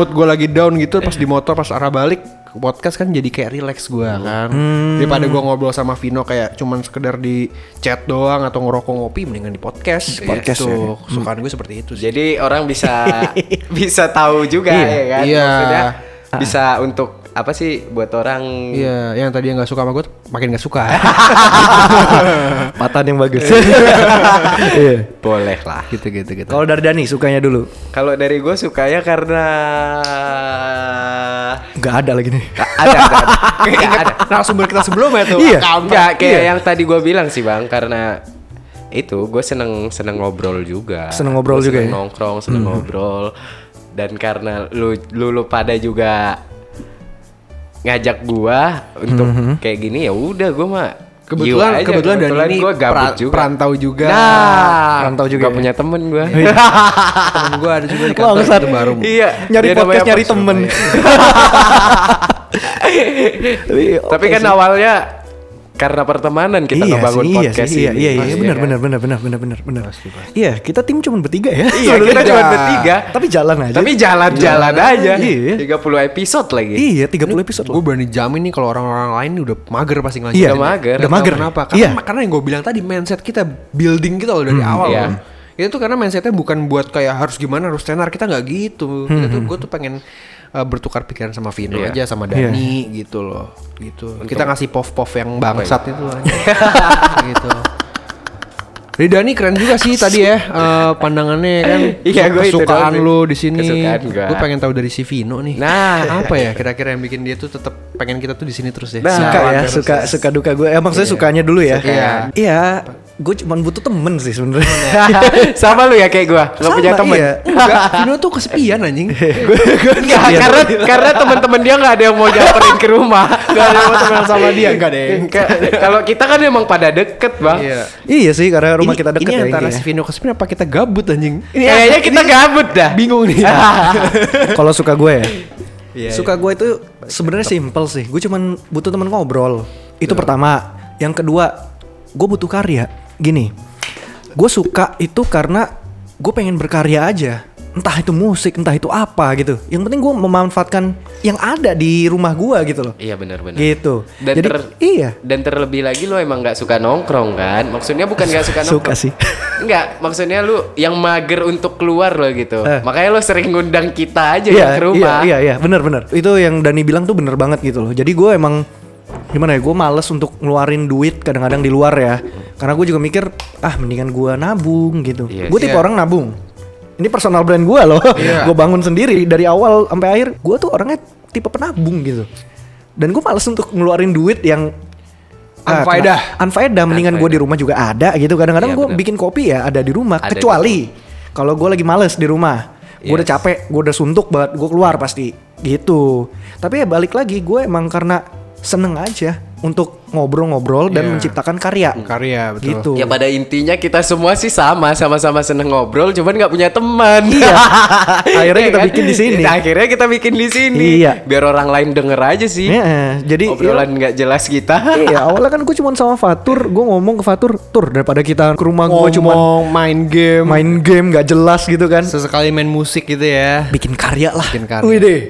S1: Mood gue lagi down gitu pas di motor pas arah balik podcast kan jadi kayak relax gue kan. Daripada gue ngobrol sama Vino kayak cuman sekedar di chat doang atau ngerokok ngopi mendingan di podcast. Gitu.
S3: podcast, ya.
S1: Kesukaan gue seperti itu sih.
S2: Jadi orang bisa bisa tahu juga
S3: Iya.
S2: ya kan?
S1: Iya.
S2: Maksudnya bisa untuk apa sih buat orang
S1: Iya, yang tadi yang gak suka sama gue makin gak suka.
S3: patahan yang bagus Iya.
S2: boleh lah.
S1: gitu gitu gitu.
S3: kalau dari Dani sukanya dulu
S2: Kalau dari gue sukanya karena
S3: nggak ada lagi nih
S2: ada ada, ada. Nggak ada.
S1: Narasumber kita sebelumnya tuh.
S3: Iya.
S2: Enggak, kayak yang tadi gue bilang sih bang karena itu gue seneng seneng ngobrol juga
S3: Seneng ngobrol
S2: Gua
S3: juga
S2: seneng
S3: ya?
S2: nongkrong seneng ngobrol dan karena lu lu, lu pada
S3: Hmm.
S2: juga ngajak gua untuk kayak gini ya udah gue mah
S1: Kebetulan
S2: You aja,
S1: kebetulan,
S2: kebetulan
S1: dan ini
S2: gua gabut
S1: pra-
S2: juga.
S1: perantau juga.
S2: Nah,
S3: Rantau juga
S2: Gak
S3: ya.
S2: punya temen gue.
S1: Temen gue ada juga di kantor
S3: Bangsat.
S1: itu baru.
S2: iya.
S3: Nyari
S2: dia
S3: podcast
S2: namanya Iya,
S3: nyari
S2: Pos
S3: temen. Tapi,
S2: Tapi
S3: oke
S2: kan
S3: sih.
S2: awalnya karena pertemanan kita
S3: iya
S2: ngebangun
S3: sih, iya
S2: podcast
S3: sih, iya,
S2: ini.
S3: iya, iya,
S2: Pasti,
S3: benar,
S2: kan?
S3: benar, benar, benar, benar, benar, benar. Iya, kita tim cuma bertiga ya.
S2: Iya, kita cuma
S1: Iya.
S2: bertiga.
S3: Tapi jalan aja.
S2: Tapi jalan-jalan aja.
S3: Iya.
S2: 30 episode lagi.
S3: iya, 30 episode loh.
S1: Gue berani jamin nih kalau orang-orang lain udah mager pasti ngelanjutin. ya.
S3: Iya,
S2: udah mager.
S3: Udah mager.
S1: Kenapa? Karena,
S3: Iya.
S1: karena yang gue bilang tadi mindset kita building kita loh dari awal.
S2: iya.
S1: loh. Itu tuh karena mindsetnya bukan buat kayak harus gimana harus tenar kita nggak gitu. Kita tuh gue tuh pengen uh, bertukar pikiran sama Vino
S2: Hmm, Iya. Oh,
S1: aja sama Dani gitu loh. Gitu. Kita ngasih pov-pov yang bangsat
S2: iya.
S1: itu aja. gitu. Dari Dani keren juga sih tadi ya eh, pandangannya ya kan.
S2: Iya, gua itu
S1: kesukaan
S2: doang sih.
S1: lu di sini.
S2: Kesukaan gua.
S1: Gue pengen tahu dari si Vino nih.
S2: Nah.
S1: apa ya kira-kira yang bikin dia tuh tetap pengen kita tuh di sini terus ya.
S2: Nah,
S3: suka ya, suka suka duka gue. Emang saya sukanya dulu ya.
S1: Iya.
S3: Iya, gue cuma butuh temen
S2: Iya.
S3: sih sebenarnya.
S2: Sama lu ya kayak gua, gak punya
S3: Sama,
S2: temen.
S3: iya.
S1: Enggak, Vino tuh kesepian anjing.
S2: Enggak,
S1: Iya,
S2: karena karena teman-teman dia nggak ada yang mau nyamperin ke rumah. Gak ada yang mau temenan sama dia, enggak deh. Kalau kita kan emang pada deket, Bang.
S1: Iya.
S3: Iya sih, karena rumah kita dekat
S1: ini
S3: ya.
S1: antara si
S3: intinya.
S1: Vino kesepian apa kita gabut anjing?
S2: Kayaknya kita gabut dah. Ah.
S1: bingung nih.
S3: Kalau suka gue ya. suka gue itu sebenarnya simpel sih. Gue cuman butuh temen ngobrol. Itu pertama. Yang kedua, gue butuh karya. Gini, gue suka itu karena gue pengen berkarya aja. Entah itu musik, entah itu apa gitu. Yang penting gue memanfaatkan yang ada di rumah gue gitu loh.
S2: Iya benar-benar.
S3: Gitu.
S2: Dan
S3: Jadi
S2: ter-
S3: iya.
S2: Dan terlebih lagi lu emang nggak suka nongkrong kan? Maksudnya bukan nggak suka nongkrong.
S3: Suka sih.
S2: Enggak, maksudnya lu yang mager untuk keluar lo gitu.
S3: Eh.
S2: Makanya lu sering ngundang kita aja ya
S3: Iya,
S2: ke rumah.
S3: Iya, iya, iya, benar benar. Itu yang Dani bilang tuh bener banget gitu loh. Jadi gue emang gimana ya, gue males untuk ngeluarin duit kadang-kadang di luar ya. Karena gue juga mikir, ah mendingan gue nabung gitu.
S2: Iya
S3: gue tipe orang nabung. Ini personal brand gue loh. gue bangun sendiri dari awal sampai akhir. Gue tuh orangnya tipe penabung gitu. Dan gue males untuk ngeluarin duit yang ah,
S1: Unfaedah.
S3: kena- Unfaedah mendingan gue di rumah juga ada gitu. Kadang-kadang
S2: Iya,
S3: gue
S2: benar.
S3: bikin kopi ya ada di rumah.
S2: Ada di
S3: Kecuali kalau gue lagi males di rumah, gue udah
S2: Yes.
S3: capek, gue udah suntuk banget, gue keluar pasti gitu. Tapi ya balik lagi gue emang karena seneng aja untuk ngobrol-ngobrol dan
S1: Iya.
S3: menciptakan karya.
S1: Karya betul.
S3: Gitu.
S2: Ya pada intinya kita semua sih sama, sama-sama seneng ngobrol, cuman nggak punya teman.
S3: Iya. Akhirnya
S2: Iya
S3: kita
S2: kan?
S3: bikin di sini.
S2: Kita- akhirnya kita bikin di sini.
S3: Iya.
S2: Biar orang lain denger aja sih.
S3: Iya, jadi
S2: Obrolan nggak jelas kita.
S3: Iya, awalnya kan gue cuma sama Fatur, gue ngomong ke Fatur, tur daripada kita ke rumah gue cuma
S1: Ngomong, main game,
S3: main game gak jelas gitu kan.
S1: sesekali main musik gitu ya.
S3: bikin karya lah.
S1: Bikin karya.
S3: Wih deh.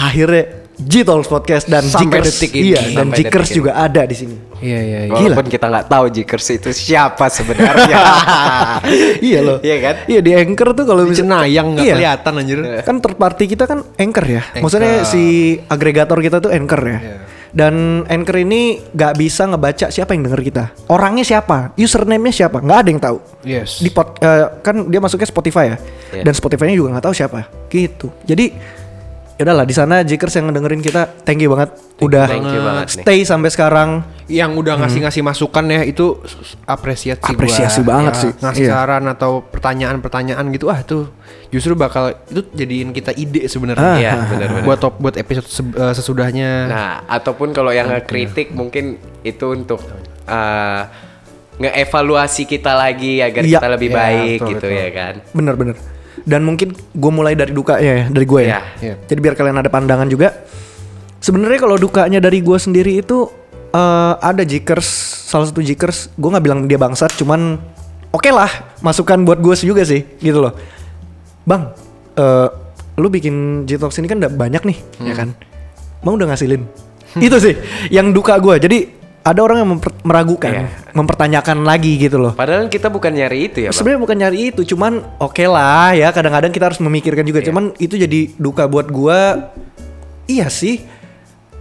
S3: Akhirnya G-Talks Podcast dan
S1: Sampai
S3: Jikers.
S1: detik ini.
S3: Iya, dan
S2: Sampai
S3: Jikers
S2: detik ini.
S3: juga ada di sini.
S1: Iya iya iya.
S2: Walaupun kita nggak tahu Jikers itu siapa sebenarnya.
S3: iya loh.
S2: Iya kan?
S3: Iya di Anchor tuh kalau
S1: Di
S3: bisa-
S1: Cenayang nggak
S3: Iya.
S1: kelihatan anjir.
S3: Kan third party kita kan Anchor ya. Maksudnya si agregator kita tuh Anchor ya.
S2: Iya.
S3: Dan Anchor ini nggak bisa ngebaca siapa yang denger kita. Orangnya siapa? Username-nya siapa? nggak ada yang tahu.
S1: Yes.
S3: Di pod- eh, kan dia masuknya Spotify ya.
S2: Iya.
S3: Dan Spotify-nya juga nggak tahu siapa. Gitu. Jadi ya udahlah di sana Jikers yang dengerin kita thank you banget udah
S2: thank you banget nih.
S3: stay sampai sekarang
S1: Yang udah ngasih-ngasih masukan ya itu s- s- apresiasi gua.
S3: Hmm.
S1: Ya,
S3: Apresiasi banget sih.
S1: Ngasih
S3: Iya.
S1: saran atau pertanyaan-pertanyaan gitu ah tuh justru bakal itu jadiin kita ide sebenarnya.
S3: Ah,
S2: Iya, ah, benar-benar.
S1: Buat top buat episode se- eh, sesudahnya.
S2: Nah, ataupun kalau yang
S3: Iya.
S2: kritik mungkin itu untuk eh, ngeevaluasi kita lagi agar
S3: Iya.
S2: kita lebih
S1: Iya,
S2: baik
S1: betul,
S2: gitu
S1: betul.
S2: ya kan.
S3: Bener-bener. Dan mungkin gue mulai dari dukanya ya, dari gue ya.
S1: Iya.
S3: Jadi biar kalian ada pandangan juga. Sebenarnya kalau dukanya dari gue sendiri itu eh, ada jikers, salah satu jikers. Gue nggak bilang dia bangsat, cuman oke lah, masukan buat gue juga sih, gitu loh. Bang, eh, lu bikin Jitox ini kan udah banyak nih, ya kan? Mau udah ngasilin? itu sih yang duka gue. Jadi ada orang yang memper- meragukan, mempertanyakan lagi gitu loh.
S2: Padahal kita bukan nyari itu ya, Bang.
S3: Sebenarnya bukan nyari itu, cuman oke lah ya. Kadang-kadang kita harus memikirkan
S1: Iya.
S3: juga. Cuman itu jadi duka buat gua. Iya sih.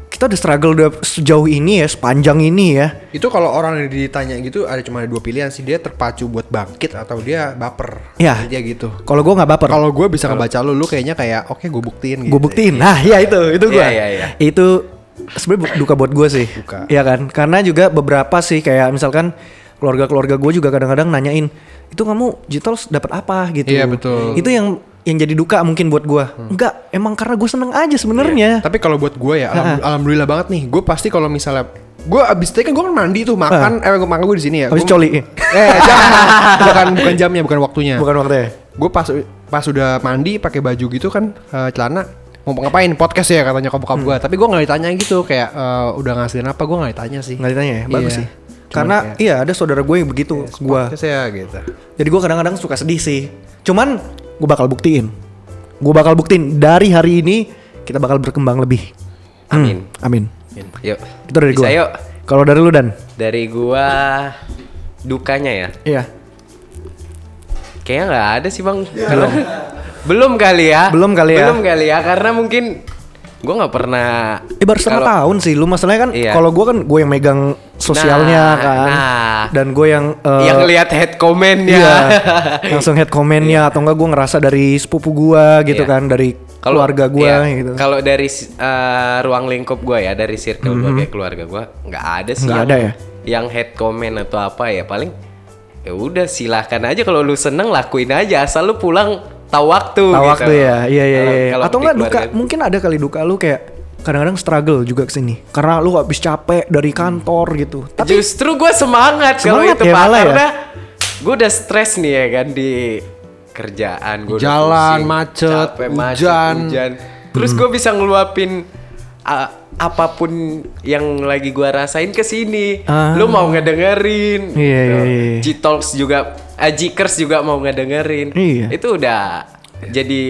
S3: Kita udah struggle udah sejauh ini ya, sepanjang ini ya.
S1: Itu kalau orang yang ditanya gitu ada cuma ada dua pilihan sih dia terpacu buat bangkit atau dia baper.
S3: Ya.
S1: Dia gitu.
S3: Kalau gua nggak baper,
S1: Kalau gue bisa ngebaca lu, lu kayaknya kayak oke gue buktiin gitu.
S3: gue buktiin. Nah, ya itu, itu gua.
S2: Iya, iya, iya.
S3: Itu sebenarnya bu- duka buat gua sih.
S1: Duka.
S3: Iya kan? Karena juga beberapa sih kayak misalkan keluarga-keluarga gue juga kadang-kadang nanyain, "Itu kamu Jitols dapat apa?" gitu.
S1: Iya, betul. Hmm.
S3: Itu yang yang jadi duka mungkin buat gua. Enggak, emang karena gue seneng aja
S1: Iya.
S3: sebenarnya. Ah,
S1: Tapi kalau buat gue ya, alham- alhamdulillah banget nih. Gue pasti kalau misalnya gue abis tadi kan gue kan mandi tuh makan, eh gua makan gue di sini ya.
S3: Habis
S1: Gua-
S3: Ah. coli.
S1: Eh jangan, bukan bukan jamnya, bukan waktunya.
S2: Iya.
S3: Bukan ya? waktunya.
S1: Gue pas pas udah mandi pakai baju gitu kan eh, celana mau ngapain podcast ya katanya nyokap
S3: Hmm.
S1: bokap gue tapi gue nggak ditanya gitu kayak eh, udah ngasilin apa gue nggak ditanya sih
S3: Nggak ditanya ya, bagus
S1: Iya.
S3: sih.
S1: Cuman
S3: Karena
S1: kayak-
S3: iya ada saudara gue yang begitu
S2: Iya,
S3: ke gue.
S1: podcast ya gitu
S3: Jadi gue kadang-kadang suka sedih sih. Cuman gue bakal buktiin. Gue bakal buktiin dari hari ini kita bakal berkembang lebih.
S2: Amin.
S3: Hmm, amin.
S2: Yuk.
S3: Itu dari gue.
S2: Bisa yuk.
S3: Kalau dari lu Dan?
S2: Dari gua dukanya ya.
S3: Iya.
S2: Kayaknya nggak ada sih bang. Belum. Belum kali ya.
S3: Belum kali ya.
S2: Belum kali ya karena mungkin gua nggak pernah.
S3: Eh baru setengah
S2: Kalau-
S3: tahun sih. Lu masalahnya kan
S2: Iya.
S3: kalau gue kan gue yang megang sosialnya
S2: Nah,
S3: kan.
S2: nah.
S3: Dan gue yang eh,
S2: Yang lihat head comment ya.
S3: Iya. langsung head komennya atau enggak gue ngerasa dari sepupu gua gitu
S2: Iya.
S3: kan, dari keluarga gua
S2: iya,
S3: gitu.
S2: Kalau dari eh, ruang lingkup gua ya, dari circle gua kayak keluarga gua nggak ada sih.
S3: Mm-hmm. Nggak
S2: yang-
S3: ada ya?
S2: Yang head comment atau apa ya paling ya udah silahkan aja kalau lu seneng lakuin aja asal lu pulang tahu waktu.
S3: Tahu
S2: gitu.
S3: waktu ya, iya iya
S2: Kalau-
S3: iya.
S2: kalau
S3: Atau
S2: di
S3: enggak duka?
S2: keluarga-
S3: Mungkin ada kali duka lu kayak kadang-kadang struggle juga kesini karena lu habis capek dari kantor gitu. Tapi
S2: Justru gua semangat, kalau
S3: Semangat
S2: itu
S3: ya,
S2: Pak.
S3: malah ya?
S2: karena gua udah stres nih ya kan di kerjaan gua udah
S1: Jalan,
S2: pusing,
S1: macet,
S2: capek, macet,
S1: hujan.
S2: Terus gua bisa ngeluapin uh, apapun yang lagi gua rasain ke sini.
S3: Ah.
S2: Lu mau ngedengerin.
S3: Iya, iya, iya.
S2: G-Talks juga, uh, G-Kers juga mau ngedengerin.
S3: Iya.
S2: Itu udah jadi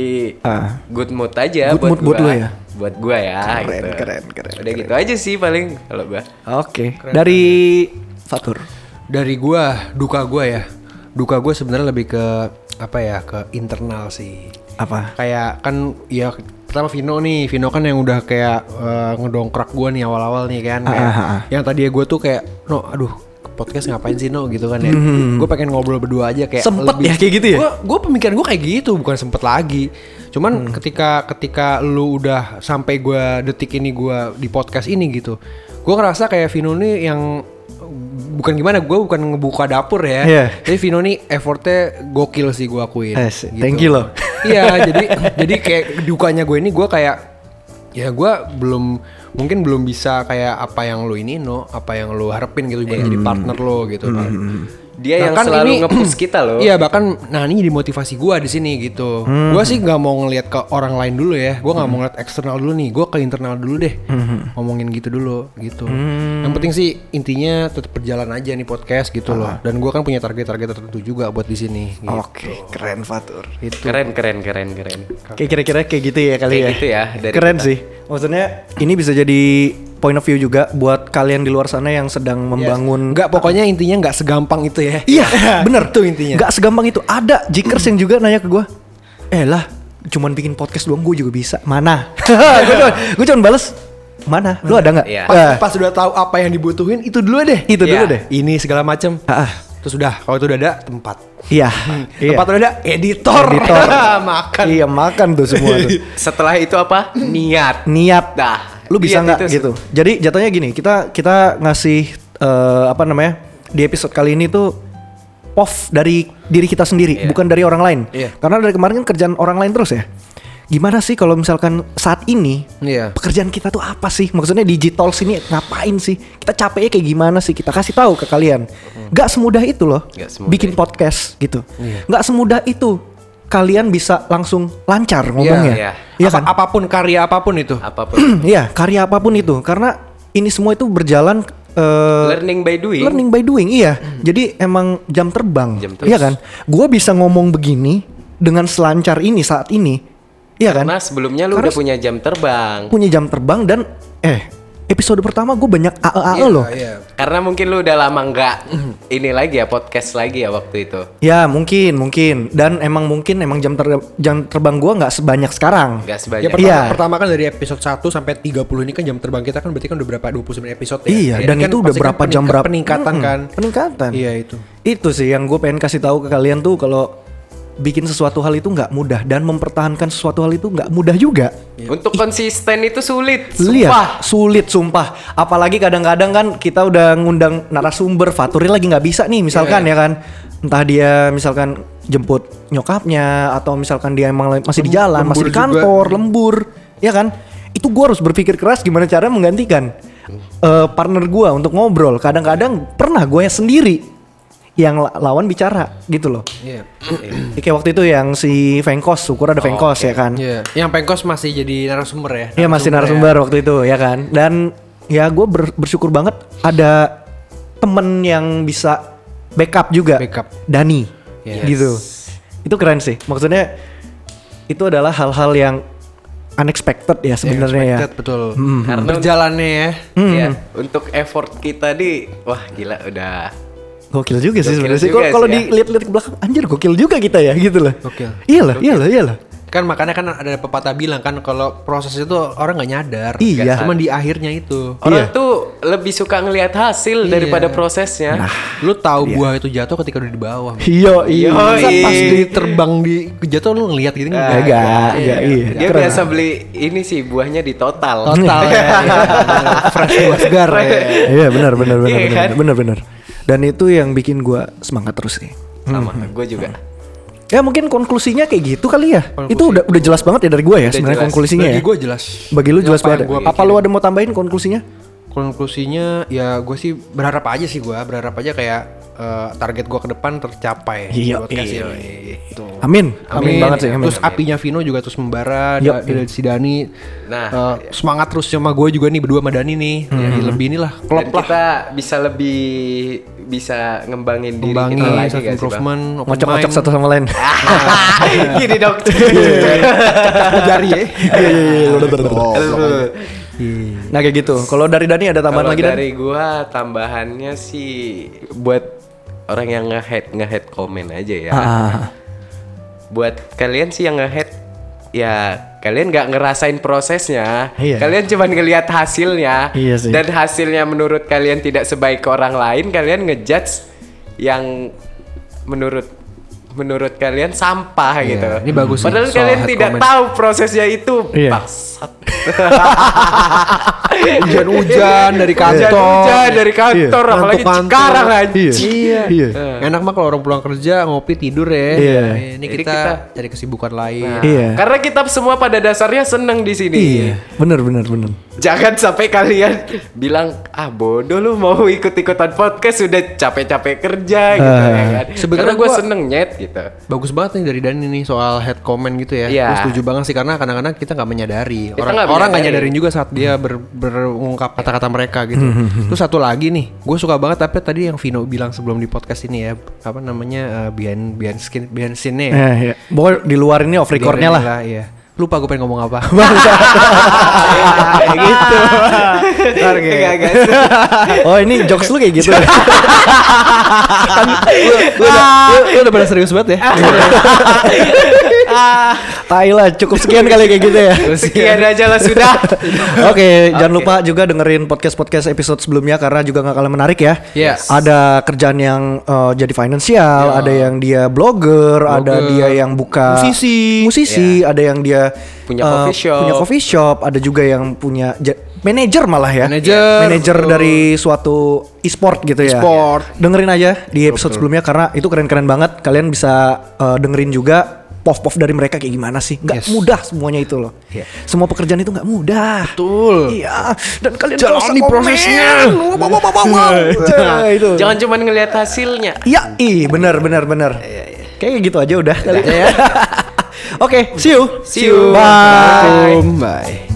S3: Ah.
S2: good mood aja
S3: Good mood buat
S2: gua.
S3: lu ya?
S2: Buat gua ya.
S3: Keren,
S2: gitu.
S3: keren, keren,
S2: Udah gitu aja sih paling kalau gua.
S3: Oke. Dari Fatur.
S1: dari gue duka gue ya duka gue sebenarnya lebih ke apa ya ke internal sih
S3: Apa?
S1: kayak kan ya pertama Vino nih Vino kan yang udah kayak eh, ngedongkrak gue nih awal-awal nih kan kayak,
S3: ah, ah.
S1: yang tadi gue tuh kayak no aduh ke podcast ngapain sih no gitu kan ya gue pengen ngobrol berdua aja kayak
S3: Hmm. Sempet ya, kayak gitu ya?
S1: gue pemikiran gue kayak gitu bukan sempet lagi cuman
S3: Hmm.
S1: ketika ketika lu udah sampai gue detik ini gue di podcast ini gitu gue ngerasa kayak Vino nih yang bukan gimana gue bukan ngebuka dapur ya
S3: Iya.
S1: jadi Vino nih effortnya gokil sih gue akuin
S3: Eh, sih. Thank you loh.
S1: gitu. Iya, jadi jadi kayak dukanya gue ini gue kayak ya gue belum mungkin belum bisa kayak apa yang lu ini no, apa yang lu harapin gitu buat jadi
S3: Hmm.
S1: partner lo gitu kan.
S3: Nah,
S2: Dia yang
S1: Bahkan
S3: kan
S2: selalu
S1: ini-
S2: nge-push kita loh.
S1: Iya bahkan nah ini jadi motivasi gue di sini gitu.
S3: Hmm.
S1: Gue sih nggak mau ngelihat ke orang lain dulu ya. Gue nggak mau ngeliat eksternal dulu nih. Gue ke internal dulu deh.
S3: Hmm,
S1: Ngomongin gitu dulu gitu. Yang penting sih intinya tetap berjalan aja nih podcast gitu loh.
S3: Ah.
S1: Dan gue kan punya target-target tertentu juga buat di sini. gitu.
S3: Oke, keren Fatur.
S2: Keren keren keren keren.
S3: Kayak kira-kira kayak gitu ya kali
S2: Kayak
S3: ya.
S2: gitu ya, dari
S3: Keren sih. Maksudnya ini bisa jadi point of view juga buat kalian di luar sana yang sedang membangun.
S1: Enggak, pokoknya intinya Iya. nggak segampang itu ya.
S3: Iya, bener
S1: Itu intinya.
S3: Gak segampang itu. Ada jikers yang juga nanya ke gue, eh lah, cuman bikin podcast doang gue juga bisa. Mana? gue cuman, gua cuman bales, mana? Lu ada nggak?
S2: Iya.
S1: Pas,
S3: Eh,
S1: pas udah tahu apa yang dibutuhin itu dulu deh.
S3: itu
S2: Iya.
S3: dulu deh.
S1: Ini segala macem.
S3: Ah, ah.
S1: Terus udah, kalau itu udah ada tempat.
S3: Iya. iya.
S1: Tempat udah ada editor. Ah,
S3: Editor.
S1: Makan.
S3: Iya makan tuh semua tuh.
S2: Setelah itu apa? Niat.
S3: Niat.
S2: Iya. Dah.
S3: Lu bisa
S2: Niat
S3: nggak
S2: itu-
S3: gitu? Jadi jatuhnya gini, kita kita ngasih eh, apa namanya di episode kali ini tuh off dari diri kita sendiri,
S2: Iya.
S3: bukan dari orang lain.
S1: Iya.
S3: Karena dari kemarin kan kerjaan orang lain terus ya. Gimana sih kalau misalkan saat ini
S1: Iya.
S3: pekerjaan kita tuh apa sih? Maksudnya digital sini ngapain sih? Kita capeknya kayak gimana sih? Kita kasih tahu ke kalian. Gak semudah itu loh.
S2: Nggak semudah Iya.
S3: bikin podcast gitu. Nggak semudah itu kalian bisa langsung lancar ngomongnya.
S2: iya.
S3: Iya
S1: Apa- kan? apapun karya apapun itu.
S2: Apapun.
S3: Iya, karya apapun itu karena ini semua itu berjalan eh,
S2: Learning by doing.
S3: learning by doing, iya. Jadi emang jam terbang.
S2: Jam
S3: Iya kan? Gua bisa ngomong begini dengan selancar ini saat ini. Iya kan?
S2: Karena Nah, sebelumnya lu
S3: Karena
S2: udah punya jam terbang.
S3: punya jam terbang dan eh episode pertama gue banyak AE AE E
S2: Iya,
S3: loh.
S1: Ah, iya.
S2: Karena mungkin lu udah lama nggak ini lagi ya podcast lagi ya waktu itu.
S3: Ya mungkin mungkin dan emang mungkin emang jam ter- jam terbang gua nggak sebanyak sekarang.
S1: Ya,
S2: Nggak sebanyak.
S1: pertama,
S3: Iya.
S1: pertama kan dari episode 1 sampai 30 ini kan jam terbang kita kan berarti kan udah berapa 29 episode ya.
S3: Iya,
S1: Jadi
S3: dan
S1: kan
S3: itu udah
S1: pasti kan
S3: berapa jam
S1: peningka-
S3: berapa
S1: peningkatan
S3: Mm-mm,
S1: kan.
S3: Peningkatan.
S1: Iya itu.
S3: Itu sih yang gue pengen kasih tahu ke kalian tuh kalau bikin sesuatu hal itu nggak mudah dan mempertahankan sesuatu hal itu nggak mudah juga.
S2: Iya. Untuk konsisten itu sulit.
S3: Lihat,
S2: Sumpah.
S3: sulit ya? sumpah. Apalagi kadang-kadang kan kita udah ngundang narasumber, Faturi lagi nggak bisa
S1: Iya,
S3: nih misalkan ya kan. Entah dia misalkan jemput nyokapnya atau misalkan dia emang masih di jalan,
S1: lembur
S3: masih di
S1: juga.
S3: kantor, lembur, ya kan? itu gue harus berpikir keras gimana cara menggantikan eh, partner gue untuk ngobrol kadang-kadang pernah gue sendiri yang la- lawan bicara gitu loh
S1: Iya.
S3: kayak waktu itu yang si Vengkos syukur ada Vengkos ya kan
S1: Iya. Yang pengkos masih jadi narasumber ya?
S3: Iya masih narasumber waktu itu ya kan. Dan ya gue bersyukur banget ada temen yang bisa backup juga.
S1: Backup.
S3: Dani.
S1: Yes.
S3: Gitu. Itu keren sih. Maksudnya itu adalah hal-hal yang unexpected ya sebenarnya ya.
S1: Expected, betul.
S2: Karena-
S1: Berjalannya ya.
S3: Hmm.
S2: Iya, untuk effort kita di wah gila udah
S3: Gokil juga sih
S2: Gokil
S3: sebenarnya. sih.
S2: juga
S3: Kalau kalau
S2: sih ya.
S3: dilihat-lihat ke belakang anjir gokil juga kita ya gitu loh. iya
S1: Gokil.
S3: Iyalah, iyalah, iyalah.
S1: Kan makanya kan ada pepatah bilang kan kalau proses itu orang nggak nyadar.
S3: Iya.
S1: Cuman di akhirnya itu.
S2: Orang tuh lebih suka ngelihat
S3: Iya.
S2: hasil daripada prosesnya.
S3: Nah,
S1: Lu tahu buah itu jatuh ketika udah di bawah. man.
S3: Iya, iya. Eh.
S2: Yoi.
S1: Masa pas di terbang di jatuh lu ngeliat gitu nggak?
S3: Enggak, enggak, iya.
S2: Nah, Dia
S3: Keren.
S2: biasa beli ini sih buahnya di total.
S1: Total ya. iya. Fresh buah segar ya.
S3: Iya benar benar benar
S2: Iya
S3: benar,
S2: kan?
S3: benar benar. Dan itu yang bikin gua semangat terus nih.
S2: Sama gue juga.
S3: Ya mungkin konklusinya kayak gitu kali ya. Itu udah udah jelas banget ya dari gua ya sebenarnya
S2: jelas.
S3: konklusinya
S1: Bagi
S3: ya.
S1: gue jelas.
S3: Bagi lu
S1: Apa
S3: jelas
S1: yang
S3: banget.
S1: gua
S3: Apa lu ada mau tambahin konklusinya?
S1: Konklusinya ya gue sih berharap aja sih gue berharap aja kayak eh, target gue ke depan tercapai.
S3: Iya,
S1: buat kasih
S3: iya,
S1: ini. Gitu.
S3: Amin. Amin, banget sih. Amin.
S1: Terus apinya Vino juga terus membara
S3: Yap.
S1: da- dari si Dani.
S2: Nah,
S1: eh, semangat terus sama gue juga nih berdua sama Dani nih. Jadi lebih inilah klop
S2: Dan
S1: lah.
S2: kita bisa lebih bisa ngembangin diri
S1: Membangi
S2: kita lagi
S1: self
S2: gak sih, Bang?
S1: improvement, open
S3: Ngocok-ngocok
S1: mind.
S3: satu sama lain.
S2: Gini dok.
S1: Iya. jari ya.
S3: Iya iya iya. Nah kayak gitu. Kalau dari Dani ada tambahan
S2: Kalau
S3: lagi Dani?
S2: dari gua tambahannya sih buat orang yang nge-head nge-head komen aja ya.
S3: Ah.
S2: Buat kalian sih yang nge-head ya kalian nggak ngerasain prosesnya.
S3: Iya.
S2: Kalian cuman ngelihat hasilnya.
S3: Iya sih.
S2: Dan hasilnya menurut kalian tidak sebaik orang lain, kalian ngejudge yang menurut menurut kalian sampah
S1: Iya,
S2: gitu.
S1: ini bagus sih,
S2: Padahal
S1: soal
S2: kalian
S1: head
S2: tidak
S1: comment.
S2: tahu prosesnya itu.
S3: Iya.
S2: Bangsat.
S1: Hujan-hujan dari kantor.
S2: Hujan-hujan dari kantor
S1: Iya.
S2: apalagi
S1: Ngantuk-ngantuk.
S2: Cikarang
S3: Iya.
S2: anjing.
S3: Iya.
S1: Enak mah kalau orang pulang kerja ngopi tidur ya.
S3: Iya.
S1: Ini
S2: Jadi
S1: kita,
S2: kita-
S1: cari kesibukan lain.
S2: Nah,
S3: Iya.
S2: Karena kita semua pada dasarnya seneng di sini.
S3: Iya. Bener bener bener.
S2: Jangan sampai kalian bilang ah bodoh lu mau ikut-ikutan podcast sudah capek-capek kerja gitu ya kan.
S1: Sebenarnya
S2: Sebenarnya gue
S1: gua-
S2: seneng nyet gitu.
S1: Bagus banget nih dari Dani nih soal head comment gitu ya.
S2: Iya.
S1: Gue setuju banget sih karena kadang-kadang kita nggak menyadari.
S2: Kita
S1: orang
S2: nggak
S1: orang nggak
S2: menyadari.
S1: nyadarin juga saat dia ber- berungkap kata-kata mereka gitu.
S3: Hmm,
S1: Terus satu lagi nih, gue suka banget tapi tadi yang Vino bilang sebelum di podcast ini ya apa namanya eh, behind behind skin behind scene-nya ya.
S3: Eh, iya. Pokoknya di luar ini off recordnya lah.
S1: Iya. Lupa gue pengen ngomong apa.
S3: Kayak gitu.
S2: Enggak, enggak.
S3: Oh ini jokes lu kayak gitu.
S1: lu, udah, lu, lu udah pada serius banget ya.
S3: Tai lah cukup sekian kali kayak gitu ya.
S2: Sekian aja lah sudah.
S3: Oke, jangan lupa juga dengerin podcast-podcast episode sebelumnya karena juga nggak kalah menarik ya.
S1: Yes.
S3: Ada kerjaan yang eh, jadi finansial, ada yang dia blogger, ada dia yang buka
S1: Musisi.
S3: musisi, ada yang dia
S2: Punya
S3: eh,
S2: coffee shop.
S3: punya coffee shop, ada juga yang punya ja- manajer malah ya.
S1: Manajer,
S3: Manajer
S1: betul.
S3: dari suatu e-sport gitu ya.
S1: E-sport.
S3: Dengerin aja di episode sebelumnya karena itu keren-keren banget. Kalian bisa eh, dengerin juga pov-pov dari mereka kayak gimana sih? Nggak
S1: Yes. Iya.
S3: mudah semuanya itu loh. Semua pekerjaan itu nggak mudah.
S1: Betul.
S3: Iya. Dan kalian
S1: Jalani
S3: nggak usah
S1: prosesnya. Iya.
S3: komen. Wow, wow, wow, wow, wow. Nah, itu.
S2: Jangan cuma ngelihat hasilnya.
S3: Iya, ih, benar, benar, benar.
S1: Iya,
S3: Kayaknya gitu aja udah kali. ya. Oke, see you.
S2: See you.
S3: Bye.
S1: Assalamualaikum. Bye.